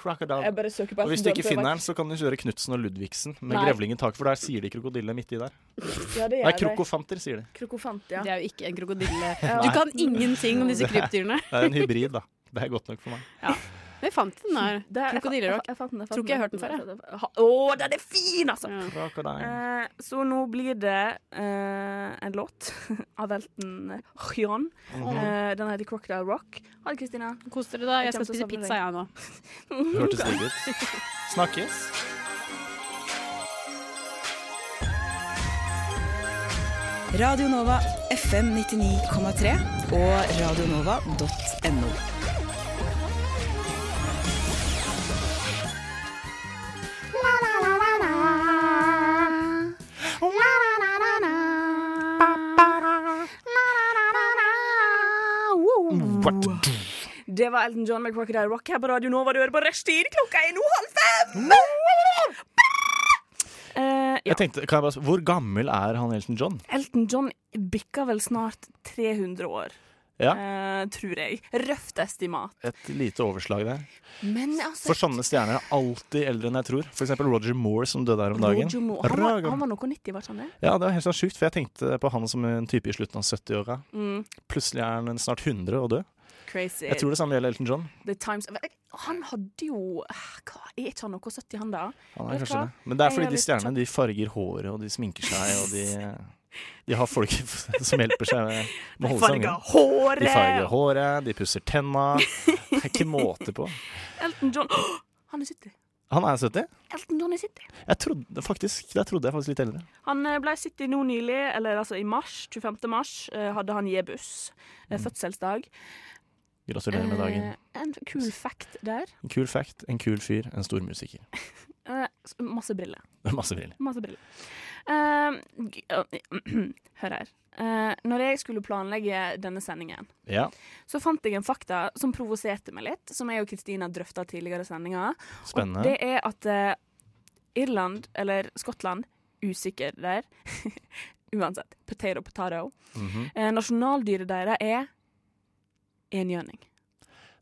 S14: Crocodile.
S6: Jeg bare søker på
S14: Og hvis du
S6: Elton
S14: ikke
S6: John,
S14: finner den, så kan du kjøre Knutsen og Ludvigsen med
S6: Nei.
S14: grevlingen tak, for der sier de krokodille midt i der.
S6: Ja, det
S14: Nei,
S6: gjør jeg.
S14: krokofanter, sier de.
S6: Krokofant, ja.
S7: Det er jo ikke en krokodille.
S14: Ja.
S7: Du kan ingenting om disse
S14: Det er-
S7: krypdyrene.
S14: Det er en hybrid, da. Det er godt nok for meg.
S7: Vi fant den der.
S6: Det er- jeg fa-
S7: Krokodillerock.
S6: jeg fa- fant den, jeg fant
S7: Tror ikke jeg har hørt den før,
S6: jeg.
S7: jeg.
S6: Ha- Å, den er fin, altså!
S14: Crocodile.
S6: Eh, så nå blir det eh, en låt av Elton John.
S14: Mhm.
S6: Eh, den heter Crocodile Rock. Ha det, Kristina.
S7: Kos dere, da. Jeg
S6: kommer til
S7: skal
S6: å savne
S7: spise pizza, jeg nå.
S14: Hørtes digg ut. Snakkes.
S15: Radio Nova FM 99,3 og radionova.no.
S6: Det var Elton John med Crocodile Rock her på Radio Nova. Du hører på Rushtid. Klokka er nå halv fem! Eh,
S14: Jeg tenkte, kan jeg bare, spørre, Hvor gammel er han Elton John?
S6: Elton John bikker vel snart 300 år.
S14: Ja.
S6: Eh, tror jeg. Røft estimat.
S14: Et lite overslag der.
S6: Men altså
S14: For sånne stjerner er alltid eldre enn jeg tror. For eksempel Roger Moore, som døde her om dagen.
S6: Roger Moore, han, var,
S14: Roger-
S6: han var noe 90, var ikke han det?
S14: Ja, det var helt sånn sjukt, for jeg tenkte på han som en type i slutten av 70-åra.
S6: Mm.
S14: Plutselig er han snart 100 og død.
S6: Crazy.
S14: Jeg tror det samme gjelder Elton John.
S6: The Times Han hadde jo Hva, Er ikke han noe 70, han da?
S14: Han
S6: Vet
S14: er
S6: du
S14: kanskje
S6: hva?
S14: det. Men det er
S6: Jeg
S14: fordi
S6: har
S14: de
S6: litt
S14: stjernene de farger håret, og de sminker seg, og de, de har folk som hjelper seg med, med å holde seg
S6: farger
S14: unge.
S6: håret!
S14: De farger håret, de pusser tenna. Det er ikke måte på.
S6: Elton John Åh, Han er 70.
S14: Han er 70.
S6: Elton John er 70.
S14: Jeg trodde faktisk, der trodde jeg faktisk litt eldre.
S6: Han eh, ble 70 nå nylig, eller altså i mars, 25. mars, eh, hadde han jebus. Eh, Fødselsdag.
S14: Mm. Gratulerer med dagen.
S6: Eh, En kul fact der.
S14: En kul fact, en kul fyr, en stor musiker.
S6: Eh, S- Masse briller.
S14: Masse briller.
S6: Masse briller. Eh, g- Hør her. Eh, når jeg skulle planlegge denne sendingen,
S14: Ja.
S6: så fant jeg en fakta som provoserte meg litt, som jeg og Kristina drøfta tidligere i sendinga.
S14: Spennende.
S6: Og det er at eh, Irland, eller Skottland, usikker der. Uansett. Potato, potato.
S14: Mhm.
S6: Eh, nasjonaldyret deres er enhjørning.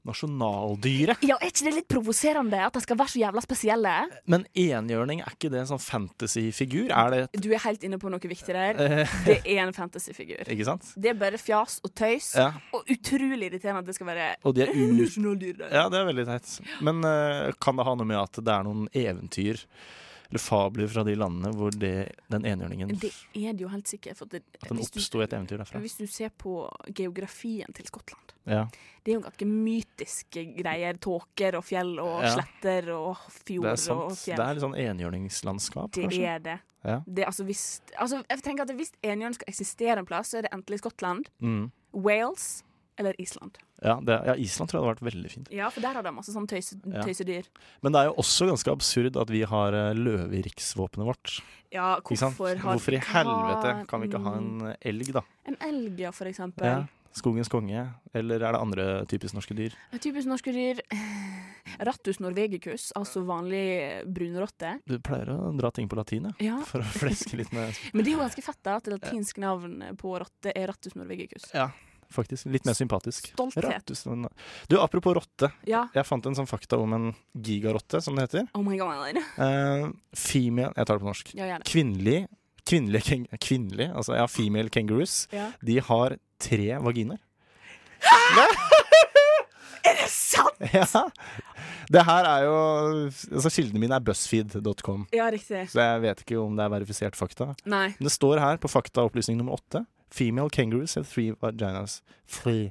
S14: Nasjonaldyret.
S6: Ja, er ikke det litt provoserende at de skal være så jævla spesielle?
S14: Men enhjørning, er ikke det en sånn fantasyfigur? Er det
S6: Du er helt inne på noe viktig der.
S14: Eh.
S6: Det er en fantasyfigur.
S14: Ikke sant?
S6: Det er bare fjas og tøys,
S14: Ja.
S6: og utrolig irriterende at det skal være
S14: Og de er u-
S6: nasjonaldyret.
S14: Ja, det er veldig teit. Men eh, kan det ha noe med at det er noen eventyr eller fabler fra de landene hvor det, den enhjørningen
S6: Det er det jo helt sikkert. For det,
S14: At den
S6: hvis du-
S14: oppsto i et eventyr derfra?
S6: Hvis du ser på geografien til Skottland,
S14: Ja.
S6: det er jo ganske mytiske greier. Tåker og fjell og
S14: Ja.
S6: sletter og fjord
S14: Det er
S6: og
S14: sant.
S6: fjell.
S14: Det er litt sånn enhjørningslandskap,
S6: Det
S14: kanskje?
S6: er det.
S14: Ja.
S6: det altså, hvis, altså, jeg tenker at hvis enhjørn skal eksistere en plass, så er det enten i Skottland,
S14: Mm.
S6: Wales eller Island.
S14: Ja, det, ja, Island tror jeg hadde vært veldig fint.
S6: Ja, for der har de masse sånn tøyse,
S14: Ja.
S6: tøysedyr.
S14: Men det er jo også ganske absurd at vi har eh, løve i riksvåpenet vårt.
S6: Ja,
S14: Ikke sant?
S6: hvorfor har-
S14: hvorfor i helvete kan vi ikke ha
S6: Mm.
S14: en elg, da?
S6: En elg, ja, for eksempel.
S14: Ja. Skogens konge, eller er det andre typisk norske dyr?
S6: Et Typisk norske dyr. Rattus norvegicus, altså vanlig brunrotte.
S14: Du pleier å dra ting på latin, ja.
S6: Ja.
S14: For å fleske litt med
S6: Men det er jo ganske fett da, at det latinske navn på rotte er rattus norvegicus.
S14: Ja, faktisk. Litt mer sympatisk.
S6: Stolthet.
S14: Rattus- Du, apropos rotte.
S6: Ja.
S14: Jeg fant en sånn fakta om en gigarotte, som det heter.
S6: Oh my god.
S14: Eh, female Jeg tar det på norsk.
S6: Ja, gjør det.
S14: Kvinnelig Kvinnelige keng, kvinnelig, altså ja, female kangaroos,
S6: Ja.
S14: de har tre vaginer.
S6: Er det sant?!
S14: Ja. Det her er jo altså Kildene mine er BuzzFeed.com,
S6: Ja, riktig.
S14: så jeg vet ikke om det er verifisert fakta.
S6: Nei.
S14: Men det står her på faktaopplysning nummer åtte Female kangaroos have three vaginas. Three.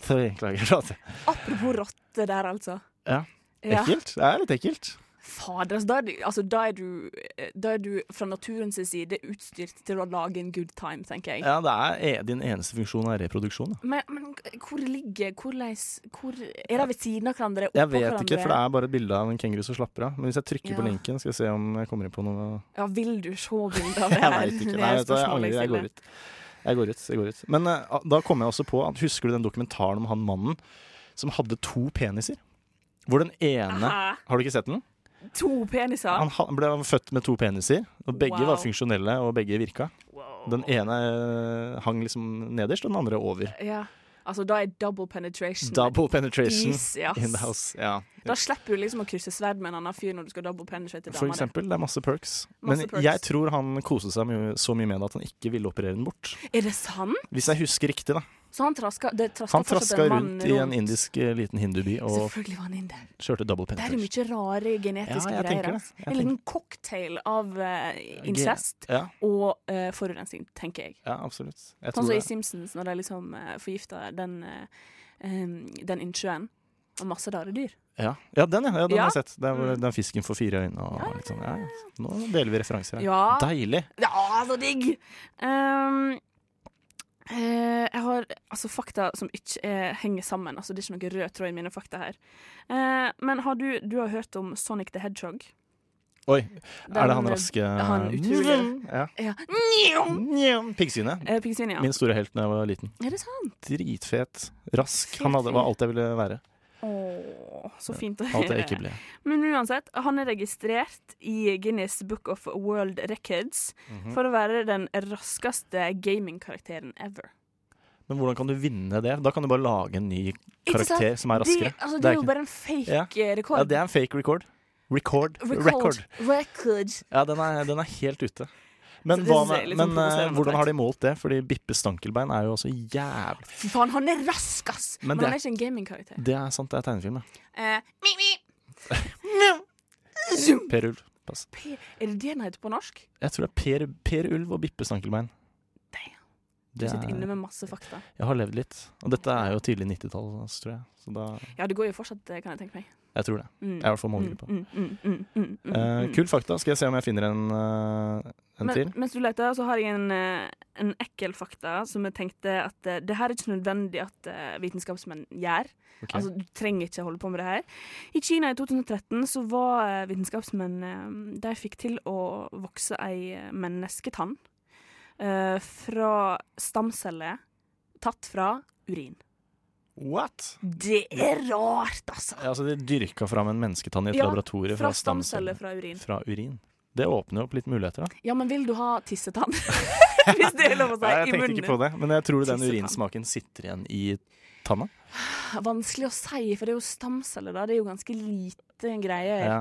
S14: Three. Klager. Prate.
S6: Apropos rotte der, altså.
S14: Ja.
S6: Ja.
S14: Ekkelt. Det er litt ekkelt.
S6: Fader, altså, da er, du, altså, da, er du, da er du fra naturens side utstyrt til å lage en good time, tenker jeg.
S14: Ja, det er e din eneste funksjon er reproduksjon. Da.
S6: Men, men hvor ligger Hvordan hvor, Er det ved siden av hverandre? Oppå
S14: Jeg vet
S6: hverandre?
S14: ikke, for det er bare et bilde av en kenguru som slapper av. Men hvis jeg trykker på
S6: Ja.
S14: linken, skal jeg se om jeg kommer inn på noe
S6: Ja, vil du se bilde av det
S14: Jeg
S6: her?
S14: veit ikke.
S6: Det er
S14: Nei, vet du, hva, jeg
S6: spørsmålet
S14: angrer. Jeg
S6: stiller.
S14: går ut. Jeg går ut, jeg går ut. Men eh, da kom jeg også på at Husker du den dokumentaren om han mannen som hadde to peniser? Hvor den ene
S6: Hæ?
S14: Har du ikke sett den?
S6: To peniser?
S14: Han, ha- ble født med to peniser, og begge
S6: Wow.
S14: var funksjonelle, og begge virka. Den ene eh, hang liksom nederst, og den andre over.
S6: Ja. Altså, da er double penetration
S14: Double penetration
S6: Easy, ass.
S14: in the house. Ja.
S6: Da slipper du liksom å krysse sverd med en annen fyr når du skal double penetrate
S14: For
S6: dama di.
S14: eksempel. Det er masse perks.
S6: Masse
S14: Men
S6: perks.
S14: jeg tror han koste seg mye, så mye med det at han ikke ville operere den bort.
S6: Er det sant?
S14: Hvis jeg husker riktig, da.
S6: Så han traska, det traska
S14: Han
S6: fortsatt
S14: traska
S6: en mann
S14: rundt i en indisk eh, liten hinduby og
S6: Selvfølgelig var han inder.
S14: kjørte double
S6: Det er jo
S14: penetration.
S6: mye rare genetiske
S14: Ja, jeg
S6: greier.
S14: tenker det.
S6: Altså.
S14: Jeg
S6: En liten cocktail av eh, incest
S14: Ja.
S6: og eh, forurensning, tenker jeg.
S14: Ja, absolutt.
S6: Sånn
S14: Jeg tror
S6: som i
S14: det.
S6: Simpsons, når de liksom uh, forgifta den, eh, em, den innsjøen. Og masse rare dyr.
S14: Ja. ja, den, ja. ja den
S6: Ja.
S14: har jeg sett. Det er hvor
S6: Mm.
S14: den fisken får fire øyne og litt sånn. Ja, ja. Nå deler vi referanser her.
S6: Ja.
S14: Deilig!
S6: Ja, så digg! Ehm, eh, jeg har altså fakta som ikke eh, henger sammen. Altså, det er ikke noe rød tråd i mine fakta her. Eh, men har du, du har hørt om Sonic the Hedgehog?
S14: Oi,
S6: Den, eh,
S14: er det han raske
S6: Han utrolige
S14: Ja.
S6: Ja.
S14: Piggsynet.
S6: Eh, Piggsynet, ja.
S14: Min store helt da jeg var liten.
S6: Er det sant?
S14: Dritfet. Rask. Han hadde, var alt jeg ville være.
S6: Åh, så fint å høre.
S14: Alt jeg ikke ble.
S6: Men uansett, han er registrert i Guinness Book of World Records
S14: Mhm.
S6: for å være den raskeste gamingkarakteren ever.
S14: Men hvordan kan du vinne det? Da kan du bare lage en ny karakter som er raskere.
S6: Det, altså, det er jo
S14: ikke-
S6: bare en fake
S14: Ja.
S6: eh, rekord.
S14: Ja, det er en fake record. Record.
S6: Record.
S14: Record.
S6: Record.
S14: Ja, den er, den er helt ute. Men,
S6: Så det
S14: hva
S6: synes jeg er
S14: med,
S6: litt sånn
S14: men eh,
S6: provoserende
S14: hvordan har de
S6: teit.
S14: målt det? Fordi Bippe Stankelbein er jo også jævlig
S6: Fy faen, han er rask, ass!
S14: Men
S6: Men,
S14: det
S6: han er
S14: er- Mm.
S6: ikke en gamingkarakter.
S14: Det er sant, det er tegnefilm. ja.
S6: Eh, mi, mi.
S14: Per Ulv. Pass.
S6: Per, er det det han heter på norsk?
S14: Jeg tror det er Per, per Ulv og Bippe Stankelbein.
S6: Du
S14: Det
S6: sitter
S14: er-
S6: inne med masse fakta.
S14: Jeg har levd litt. Og dette er jo tidlig 90-tall, altså, tror jeg. Så da
S6: Ja, det går jo fortsatt, eh, kan jeg tenke meg.
S14: Jeg tror det.
S6: Mm.
S14: Jeg er i hvert fall målgruppe.
S6: Mm, mm, mm, mm, mm, mm,
S14: Eh,
S6: mm.
S14: kul fakta. Skal jeg se om jeg finner en eh, En
S6: Men-
S14: til?
S6: Mens du leter, så har jeg en, eh, en ekkel fakta som jeg tenkte at eh, det her er ikke nødvendig at eh, vitenskapsmenn gjør.
S14: Ok.
S6: Altså, du trenger ikke holde på med det her. I Kina i 2013 så var eh, vitenskapsmenn eh, De fikk til å vokse ei eh, mennesketann eh, fra stamceller tatt fra urin.
S14: What?
S6: Det er rart, altså!
S14: Ja, altså, de dyrka fram en mennesketann i et
S6: Ja,
S14: laboratorium
S6: fra
S14: fra, stamceller.
S6: stamceller fra urin.
S14: Fra urin. Det åpner jo opp litt muligheter, da.
S6: Ja, men vil du ha tissetann? Hvis det er lov å si.
S14: Nei, jeg
S6: i
S14: tenkte
S6: munnen.
S14: ikke på det, men jeg tror den
S6: Tissetann.
S14: urinsmaken sitter igjen i tanna.
S6: Vanskelig å si, for det er jo stamceller, da. Det er jo ganske lite greier.
S14: Ja.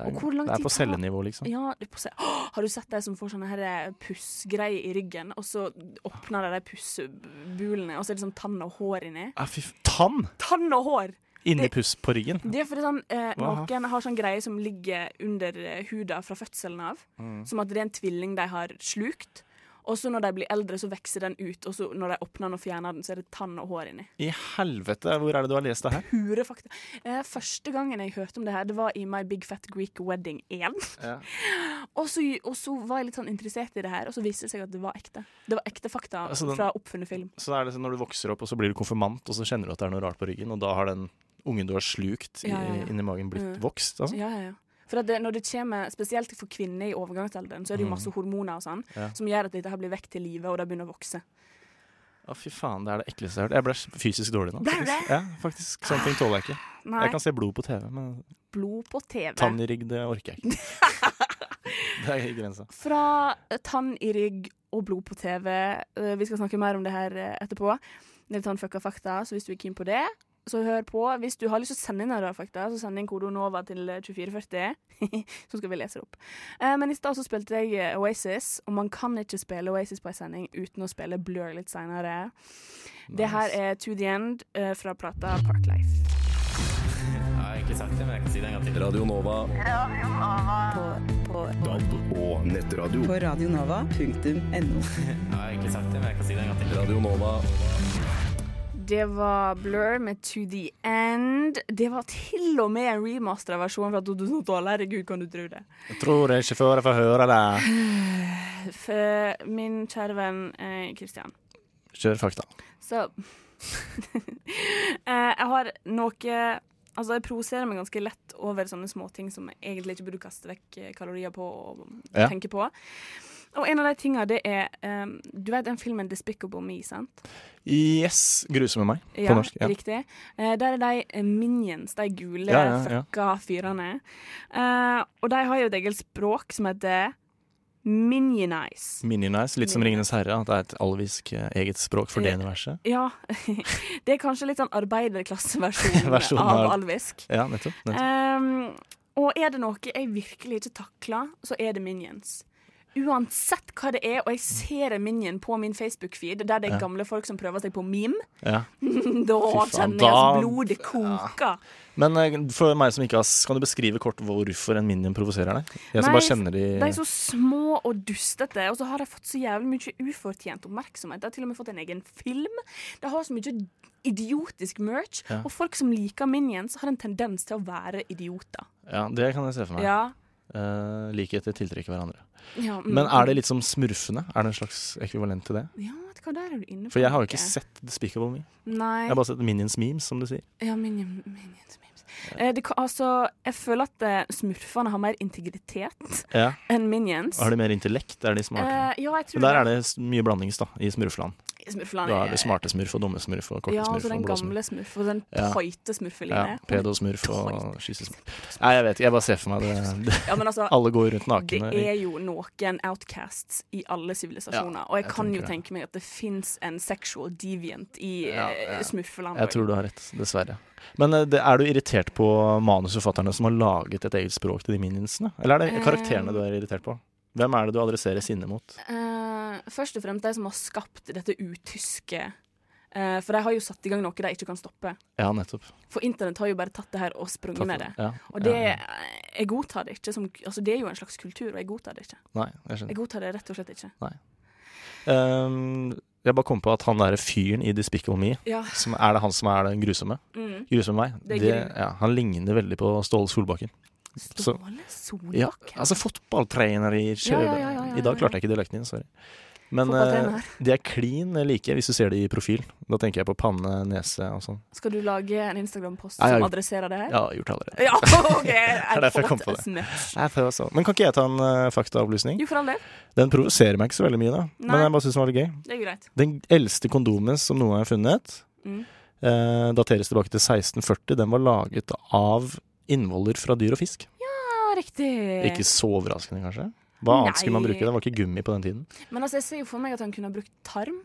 S14: Det
S6: Og hvor
S14: er,
S6: lang
S14: det er
S6: tid
S14: på
S6: tar-
S14: cellenivå, liksom.
S6: Ja, det er på se- Åh, har du sett de som får sånne her eh, pussgreier i ryggen, og så åpner de de pussbulene, og så er det sånn tann og hår inni?
S14: Ja, fy f... Tann!
S6: Tann og hår!
S14: Inni puss på ryggen.
S6: Det er fordi sånn, eh,
S14: Hva?
S6: noen har sånn greie som ligger under eh, huda fra fødselen av,
S14: Mm.
S6: som at det er en tvilling de har slukt. Og så når de blir eldre, så vokser den ut, og så når de åpner den og fjerner den, så er det tann og hår inni.
S14: I helvete, hvor er det du har lest det her?
S6: pure fakta. Eh, første gangen jeg hørte om det her, det var i My Big Fat Greek Wedding 1.
S14: Ja.
S6: og, så, og så var jeg litt sånn interessert i det her, og så viste det seg at det var ekte. Det var ekte fakta
S14: Altså, den-
S6: fra oppfunnet film.
S14: Så er det sånn når du vokser opp, og så blir du konfirmant, og så kjenner du at det er noe rart på ryggen, og da har den ungen du har slukt i,
S6: Ja, ja, ja.
S14: inni magen, blitt
S6: Mm.
S14: vokst. Altså.
S6: Ja, ja, ja. For at det, når det kommer, Spesielt for kvinner i overgangsalderen så er det jo
S14: Mm.
S6: masse hormoner og sånn,
S14: Ja.
S6: som gjør at dette her blir vekk til live, og det begynner å vokse.
S14: Å, fy faen, det er det ekleste jeg har hørt. Jeg ble fysisk dårlig nå.
S6: Ble du
S14: Faktisk.
S6: det?
S14: Ja, faktisk. Sånne ting tåler jeg ikke.
S6: Nei.
S14: Jeg kan se blod på TV, men
S6: Blod på TV.
S14: tann i rygg, det orker jeg ikke. det er i grensa.
S6: Fra eh, tann i rygg og blod på TV. Eh, Vi skal snakke mer om det her eh, etterpå. Det er tannfucka fakta, så hvis du er keen på det, så hør på. Hvis du har lyst til å sende inn en rar fakta, så send inn kode NOVA til eh, 2440, så skal vi lese det opp. Eh, Men i stad så spilte jeg eh, Oasis, og man kan ikke spille Oasis på en sending uten å spille Blur litt seinere. Det her er To The End eh, fra plata Parklife.
S16: Jeg har egentlig sagt det, men jeg kan si det en gang til.
S1: Radio Nova. DAB og nettradio.
S15: På radionova.no.
S16: Jeg har egentlig sagt det, men jeg kan si det en gang til.
S1: Radio Nova.
S6: Det var Blur med To The End. Det var til og med en remastera versjon fra 2012. Herregud, kan du tro det?
S14: Jeg tror ikke før jeg får høre det.
S6: For min kjære venn eh, Kristian.
S14: Kjør fakta.
S6: Så eh, Jeg har noe Altså, jeg provoserer meg ganske lett over sånne småting som jeg egentlig ikke burde kaste vekk eh, kalorier på og
S14: Ja.
S6: tenke på. Og en av de tinga, det er eh, Du vet den filmen 'Despicable Me', sant?
S14: Yes, grusomme meg på
S6: Ja,
S14: norsk. Ja.
S6: riktig. Eh, der er de eh, minions, de gule,
S14: Ja, ja, ja.
S6: fucka fyrene. Eh, og de har jo et eget språk som heter minionize.
S14: Minionice, litt som Ringenes herre, at det er et alvisk eh, eget språk for det
S6: Ja.
S14: universet.
S6: Ja. det er kanskje litt sånn arbeiderklasseversjon
S14: Versjonen
S6: av alvisk.
S14: Ja, nettopp. nettopp.
S6: Ehm, og er det noe jeg virkelig ikke takler, så er det minions. Uansett hva det er, og jeg ser en minion på min Facebook-feed, der det
S14: Ja.
S6: er gamle folk som prøver seg på meme,
S14: Ja.
S6: da
S14: Fy faen,
S6: kjenner jeg at
S14: da-
S6: blodet koker.
S14: Men eh, for meg som ikke har s- kan du beskrive kort hvorfor en minion provoserer deg? Jeg som bare kjenner de
S6: De er så små og dustete, og så har de fått så jævlig mye ufortjent oppmerksomhet. De har til og med fått en egen film. De har så mye idiotisk merch,
S14: Ja.
S6: og folk som liker Minions, har en tendens til å være idioter.
S14: Ja, det kan jeg se for meg.
S6: Ja.
S14: Eh, Likheter tiltrekker hverandre.
S6: Ja, mm.
S14: Men er det litt som smurfene? Er det en slags ekvivalent til det?
S6: Ja, vet du hva, der er du inne på
S14: For jeg har jo
S6: noe.
S14: ikke sett Despicable Me.
S6: Nei.
S14: Jeg har bare sett Minions memes, som du sier.
S6: Ja, Minion, Minions memes. Eh, det, kan- altså, jeg føler at eh, smurfene har mer integritet
S14: Ja.
S6: enn Minions.
S14: Har de mer intellekt? Er de smarte?
S6: Eh, ja, jeg tror
S14: Men der er det s- mye blandings, da, i smurfland.
S6: Smurfland
S14: Da
S6: er-
S14: er det smarte smurf og dumme smurf og korte
S6: Ja,
S14: smurf
S6: altså den
S14: og blå smurf.
S6: gamle smurf og den
S14: Ja.
S6: tøyte
S14: Ja,
S6: smurfeline.
S14: pedosmurf og skyssesmurf. Nei, jeg vet ikke. Jeg bare ser for meg det. det.
S6: Ja, men altså,
S14: Alle går rundt nakne.
S6: Det er jo noen outcasts i alle sivilisasjoner.
S14: Ja,
S6: og jeg,
S14: jeg
S6: kan
S14: tenker
S6: jo
S14: det.
S6: tenke meg at det fins en sexual deviant i eh, ja, smurfelandet.
S14: Jeg tror du har rett, dessverre. Men eh, det, er du irritert på manusforfatterne som har laget et eget språk til de minionsene? Eller er det karakterene
S6: Eh.
S14: du er irritert på? Hvem er det du adresserer sinnet mot?
S6: Eh, først og fremst de som har skapt dette utyske. Eh, for de har jo satt i gang noe de ikke kan stoppe.
S14: Ja, nettopp.
S6: For internett har jo bare tatt det her og sprunget
S14: Tatt
S6: med det.
S14: det, ja,
S6: og det,
S14: ja,
S6: jeg godtar det ikke som Altså, det er jo en slags kultur, og jeg godtar det ikke.
S14: Nei, jeg skjønner.
S6: Jeg godtar det rett og slett ikke.
S14: Nei. Ehm, jeg bare kom på at han derre fyren i Despicable Me,
S6: Ja.
S14: som er det han som er den grusomme
S6: Mm.
S14: Grusomme meg.
S6: Det er
S14: Det,
S6: gru.
S14: ja, han ligner veldig på Ståle Solbakken. Så-
S6: Ståle Solbakken?
S14: Ja, altså fotballtrener i
S6: Ja,
S14: Kjøben.
S6: ja, ja, ja,
S14: I dag klarte jeg ikke dialekten din, sorry. Men
S6: Fotballtrener.
S14: eh, de er klin like hvis du ser de i profil. Da tenker jeg på panne, nese og sånn.
S6: Skal du lage en Instagram-post
S14: Ja, jeg har
S6: som
S14: gjort-
S6: adresserer det her?
S14: Ja, jeg har gjort allerede.
S6: Ja, ok,
S14: Det er derfor jeg kom på det. Nei, det var sånn. Men kan ikke jeg ta en eh, faktaopplysning?
S6: Jo, for all del.
S14: Den provoserer meg ikke så veldig mye, da. Men
S6: Nei.
S14: jeg bare syns den var litt gøy.
S6: Det er greit.
S14: Den eldste kondomen som noen har funnet,
S6: Mm.
S14: eh, dateres tilbake til 1640. Den var laget av innvoller fra dyr og fisk.
S6: Ja, Ah, riktig.
S14: Ikke så overraskende, kanskje? Hva annet skulle man
S6: Nei.
S14: bruke? Det var ikke gummi på den tiden.
S6: Men altså, jeg ser jo for meg at han kunne ha brukt tarm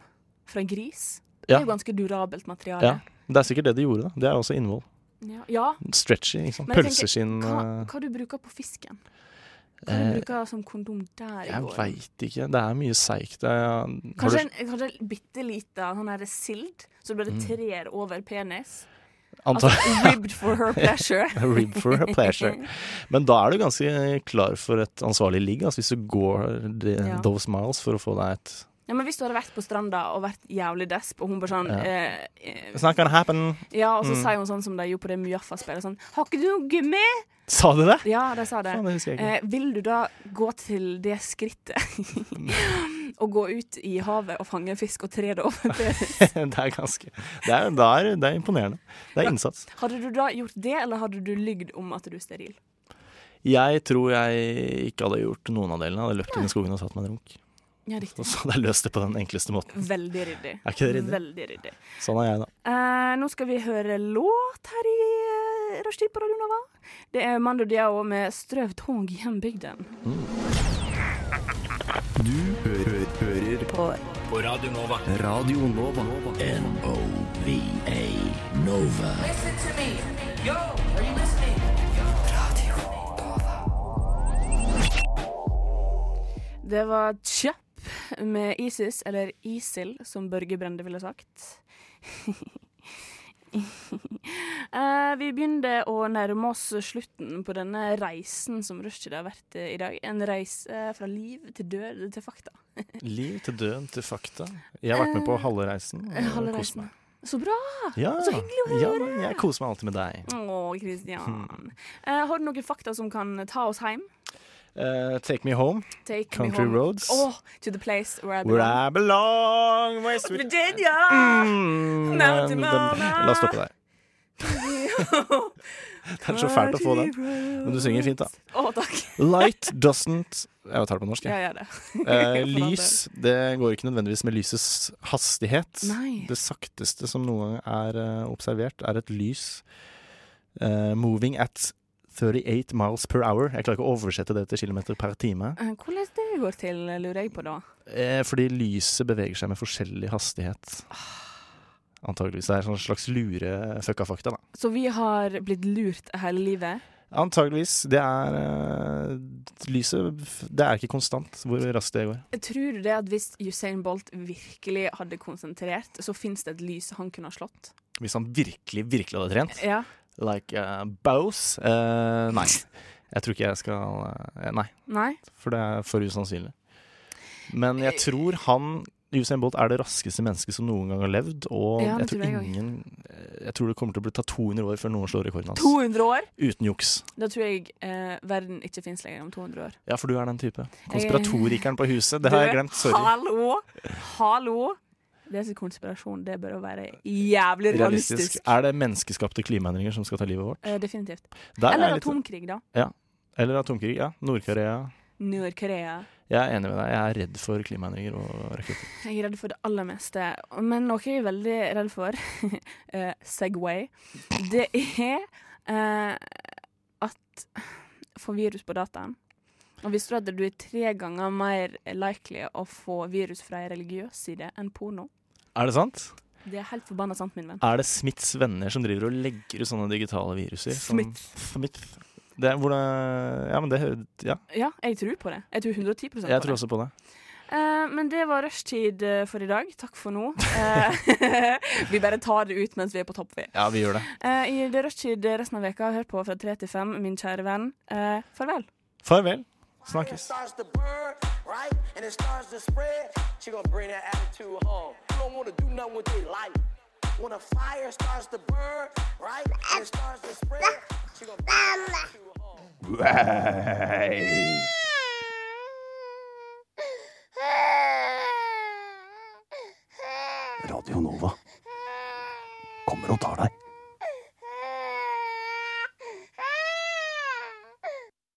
S6: fra gris. Det
S14: Ja.
S6: er jo ganske durabelt materiale.
S14: Ja. Det er sikkert det de gjorde, da. Det er også innvoll.
S6: Ja. ja.
S14: Stretchy, ikke sant.
S6: Men jeg tenker,
S14: Pølseskinn
S6: Hva,
S14: eh,
S6: hva du bruker på fisken? Hva du
S14: eh,
S6: bruker som kondom der i
S14: Jeg
S6: går?
S14: veit ikke. Det er mye seigt. Det er- har
S6: Kanskje
S14: du-
S6: en, kanskje en bitte lita Han her er sild, så blir det
S14: Mm.
S6: treer over penis.
S14: Antag-
S6: Altså ribbed for her pleasure.
S14: Ribbed for her pleasure. Men da er du ganske klar for et ansvarlig ligg, altså, hvis du går de,
S6: Ja.
S14: those miles for å få deg et
S6: Ja, men Hvis du hadde vært på stranda og vært jævlig desp, og hun bare sånn
S14: Ja.
S6: eh, eh,
S14: It's not gonna happen.
S6: Ja, og så
S14: Mm.
S6: sier hun sånn som de gjorde på det Mjaffa-spillet. Sånn 'Har ikke du noe gummi?'
S14: Sa du det?
S6: Ja, de sa det.
S14: Faen, det husker jeg
S6: eh,
S14: ikke.
S6: vil du da gå til det skrittet og gå ut i havet og fange en fisk og tre det over penis?
S14: det er ganske det er, det, er, det er imponerende. Det er innsats.
S6: Hadde du da gjort det, eller hadde du lygd om at du er steril?
S14: Jeg tror jeg ikke hadde gjort noen av delene. Jeg hadde løpt inn i skogen og tatt meg en runk.
S6: Ja, riktig.
S14: Så hadde jeg løst det på den enkleste måten.
S6: Veldig ryddig.
S14: Er ikke det ryddig?
S6: Veldig ryddig.
S14: Sånn er jeg, da.
S6: Eh, nå skal vi høre låt her i eh, Rushtid på Radio Nova. Det er Mando Diao med 'Strøv tog hjembygden'.
S1: Du hø- hø- hører på
S2: På Radio Nova.
S1: Radio Nova. N-O-V-A Nova.
S12: Listen to me. Yo, are you listening? Radio.
S6: Det var Chap med Isis, eller Isil, som Børge Brende ville sagt. Eh, vi begynner å nærme oss slutten på denne reisen som Rushtid har vært eh, i dag. En reise eh, fra liv til død til fakta.
S14: Liv til død til fakta. Jeg har vært med på halve reisen. og
S6: Eh, Halve
S14: kost
S6: reisen.
S14: meg.
S6: Så bra!
S14: Ja,
S6: Så hyggelig å høre!
S14: ja, men jeg koser meg alltid med deg.
S6: Å, Kristian. Eh, har du noen fakta som kan ta oss hjem?
S14: Eh, take me home.
S6: Take
S14: Country
S6: me home.
S14: roads.
S6: Åh, to the place where I belong.
S14: Where I belong, my sweet
S6: Virginia!
S14: Mm,
S6: Now
S14: den-
S6: tomorrow.
S14: La oss stoppe der. Det er så fælt å få den. Men du synger fint, da.
S6: Å, takk.
S14: Light doesn't Jeg tar det på norsk,
S6: Ja, gjør
S14: jeg.
S6: det.
S14: Eh,
S6: For all
S14: lys det går ikke nødvendigvis med lysets hastighet.
S6: Nei.
S14: Det sakteste som noen gang er eh, observert, er et lys eh, moving at 38 miles per hour. Jeg klarer ikke å oversette det til kilometer per time.
S6: Eh, Hvordan det går til, lurer jeg på da.
S14: Eh, fordi lyset beveger seg med forskjellig hastighet. Antageligvis. Det er sånn slags lure fucka fakta, da.
S6: Så vi har blitt lurt hele livet.
S14: Antageligvis. Det er eh, Lyset f- Det er ikke konstant hvor raskt det går.
S6: Tror du det at hvis Usain Bolt virkelig hadde konsentrert, så fins det et lys han kunne ha slått?
S14: Hvis han virkelig, virkelig hadde trent.
S6: Ja.
S14: Like uh, Bose. Eh, nei. Jeg tror ikke jeg skal eh, Nei.
S6: Nei?
S14: For det er for usannsynlig. Men jeg tror han Usain Bolt er det raskeste mennesket som noen gang har levd. Og
S6: Ja, det
S14: jeg, tror
S6: tror jeg også.
S14: ingen, jeg tror det kommer til å bli ta 200 år før noen slår rekorden hans.
S6: 200 år?
S14: Uten juks.
S6: Da tror jeg eh, verden ikke fins lenger om 200 år.
S14: Ja, for du er den type. Konspiratorikeren på huset. Det
S6: Du,
S14: har jeg glemt. Sorry.
S6: Hallo! Hallo! Det som er konspirasjon, det bør jo være jævlig realistisk.
S14: Er det menneskeskapte klimaendringer som skal ta livet vårt?
S6: Eh, definitivt.
S14: Der er jeg
S6: Eller
S14: litt-
S6: atomkrig, da.
S14: Ja. Eller atomkrig. Ja. Nord-Korea.
S6: Nord-Korea.
S14: Jeg er enig med deg. Jeg er redd for klimaendringer og raketter.
S6: Jeg er redd for det aller meste, men noe jeg er veldig redd for, eh, Segway, det er eh, at få virus på dataen. Og visste du at du er tre ganger mer likely å få virus fra en religiøs side enn porno?
S14: Er det sant?
S6: Det er helt forbanna sant, min venn.
S14: Er det Smiths venner som driver og legger ut sånne digitale viruser? som- Smith. Det er hvordan Ja, men det hører Ja.
S6: Ja, jeg tror på det. Jeg tror 110 på det.
S14: Jeg tror også på det.
S6: Eh, men det var rushtid eh, for i dag. Takk for nå. Eh, vi bare tar det ut mens vi er på topp, vi.
S14: Ja, vi gjør det.
S6: Eh, I det rushtid resten av veka, hør på fra tre til fem, min kjære venn. Eh, farvel.
S14: Farvel. Snakkes.
S12: starts to burn, right? And it starts to spread. She gonna bring that attitude home. You don't wanna do nothing with their life. When a fire starts to burn, right? And it starts to spread. She gonna bring that attitude home.
S10: Radio Nova kommer og tar deg.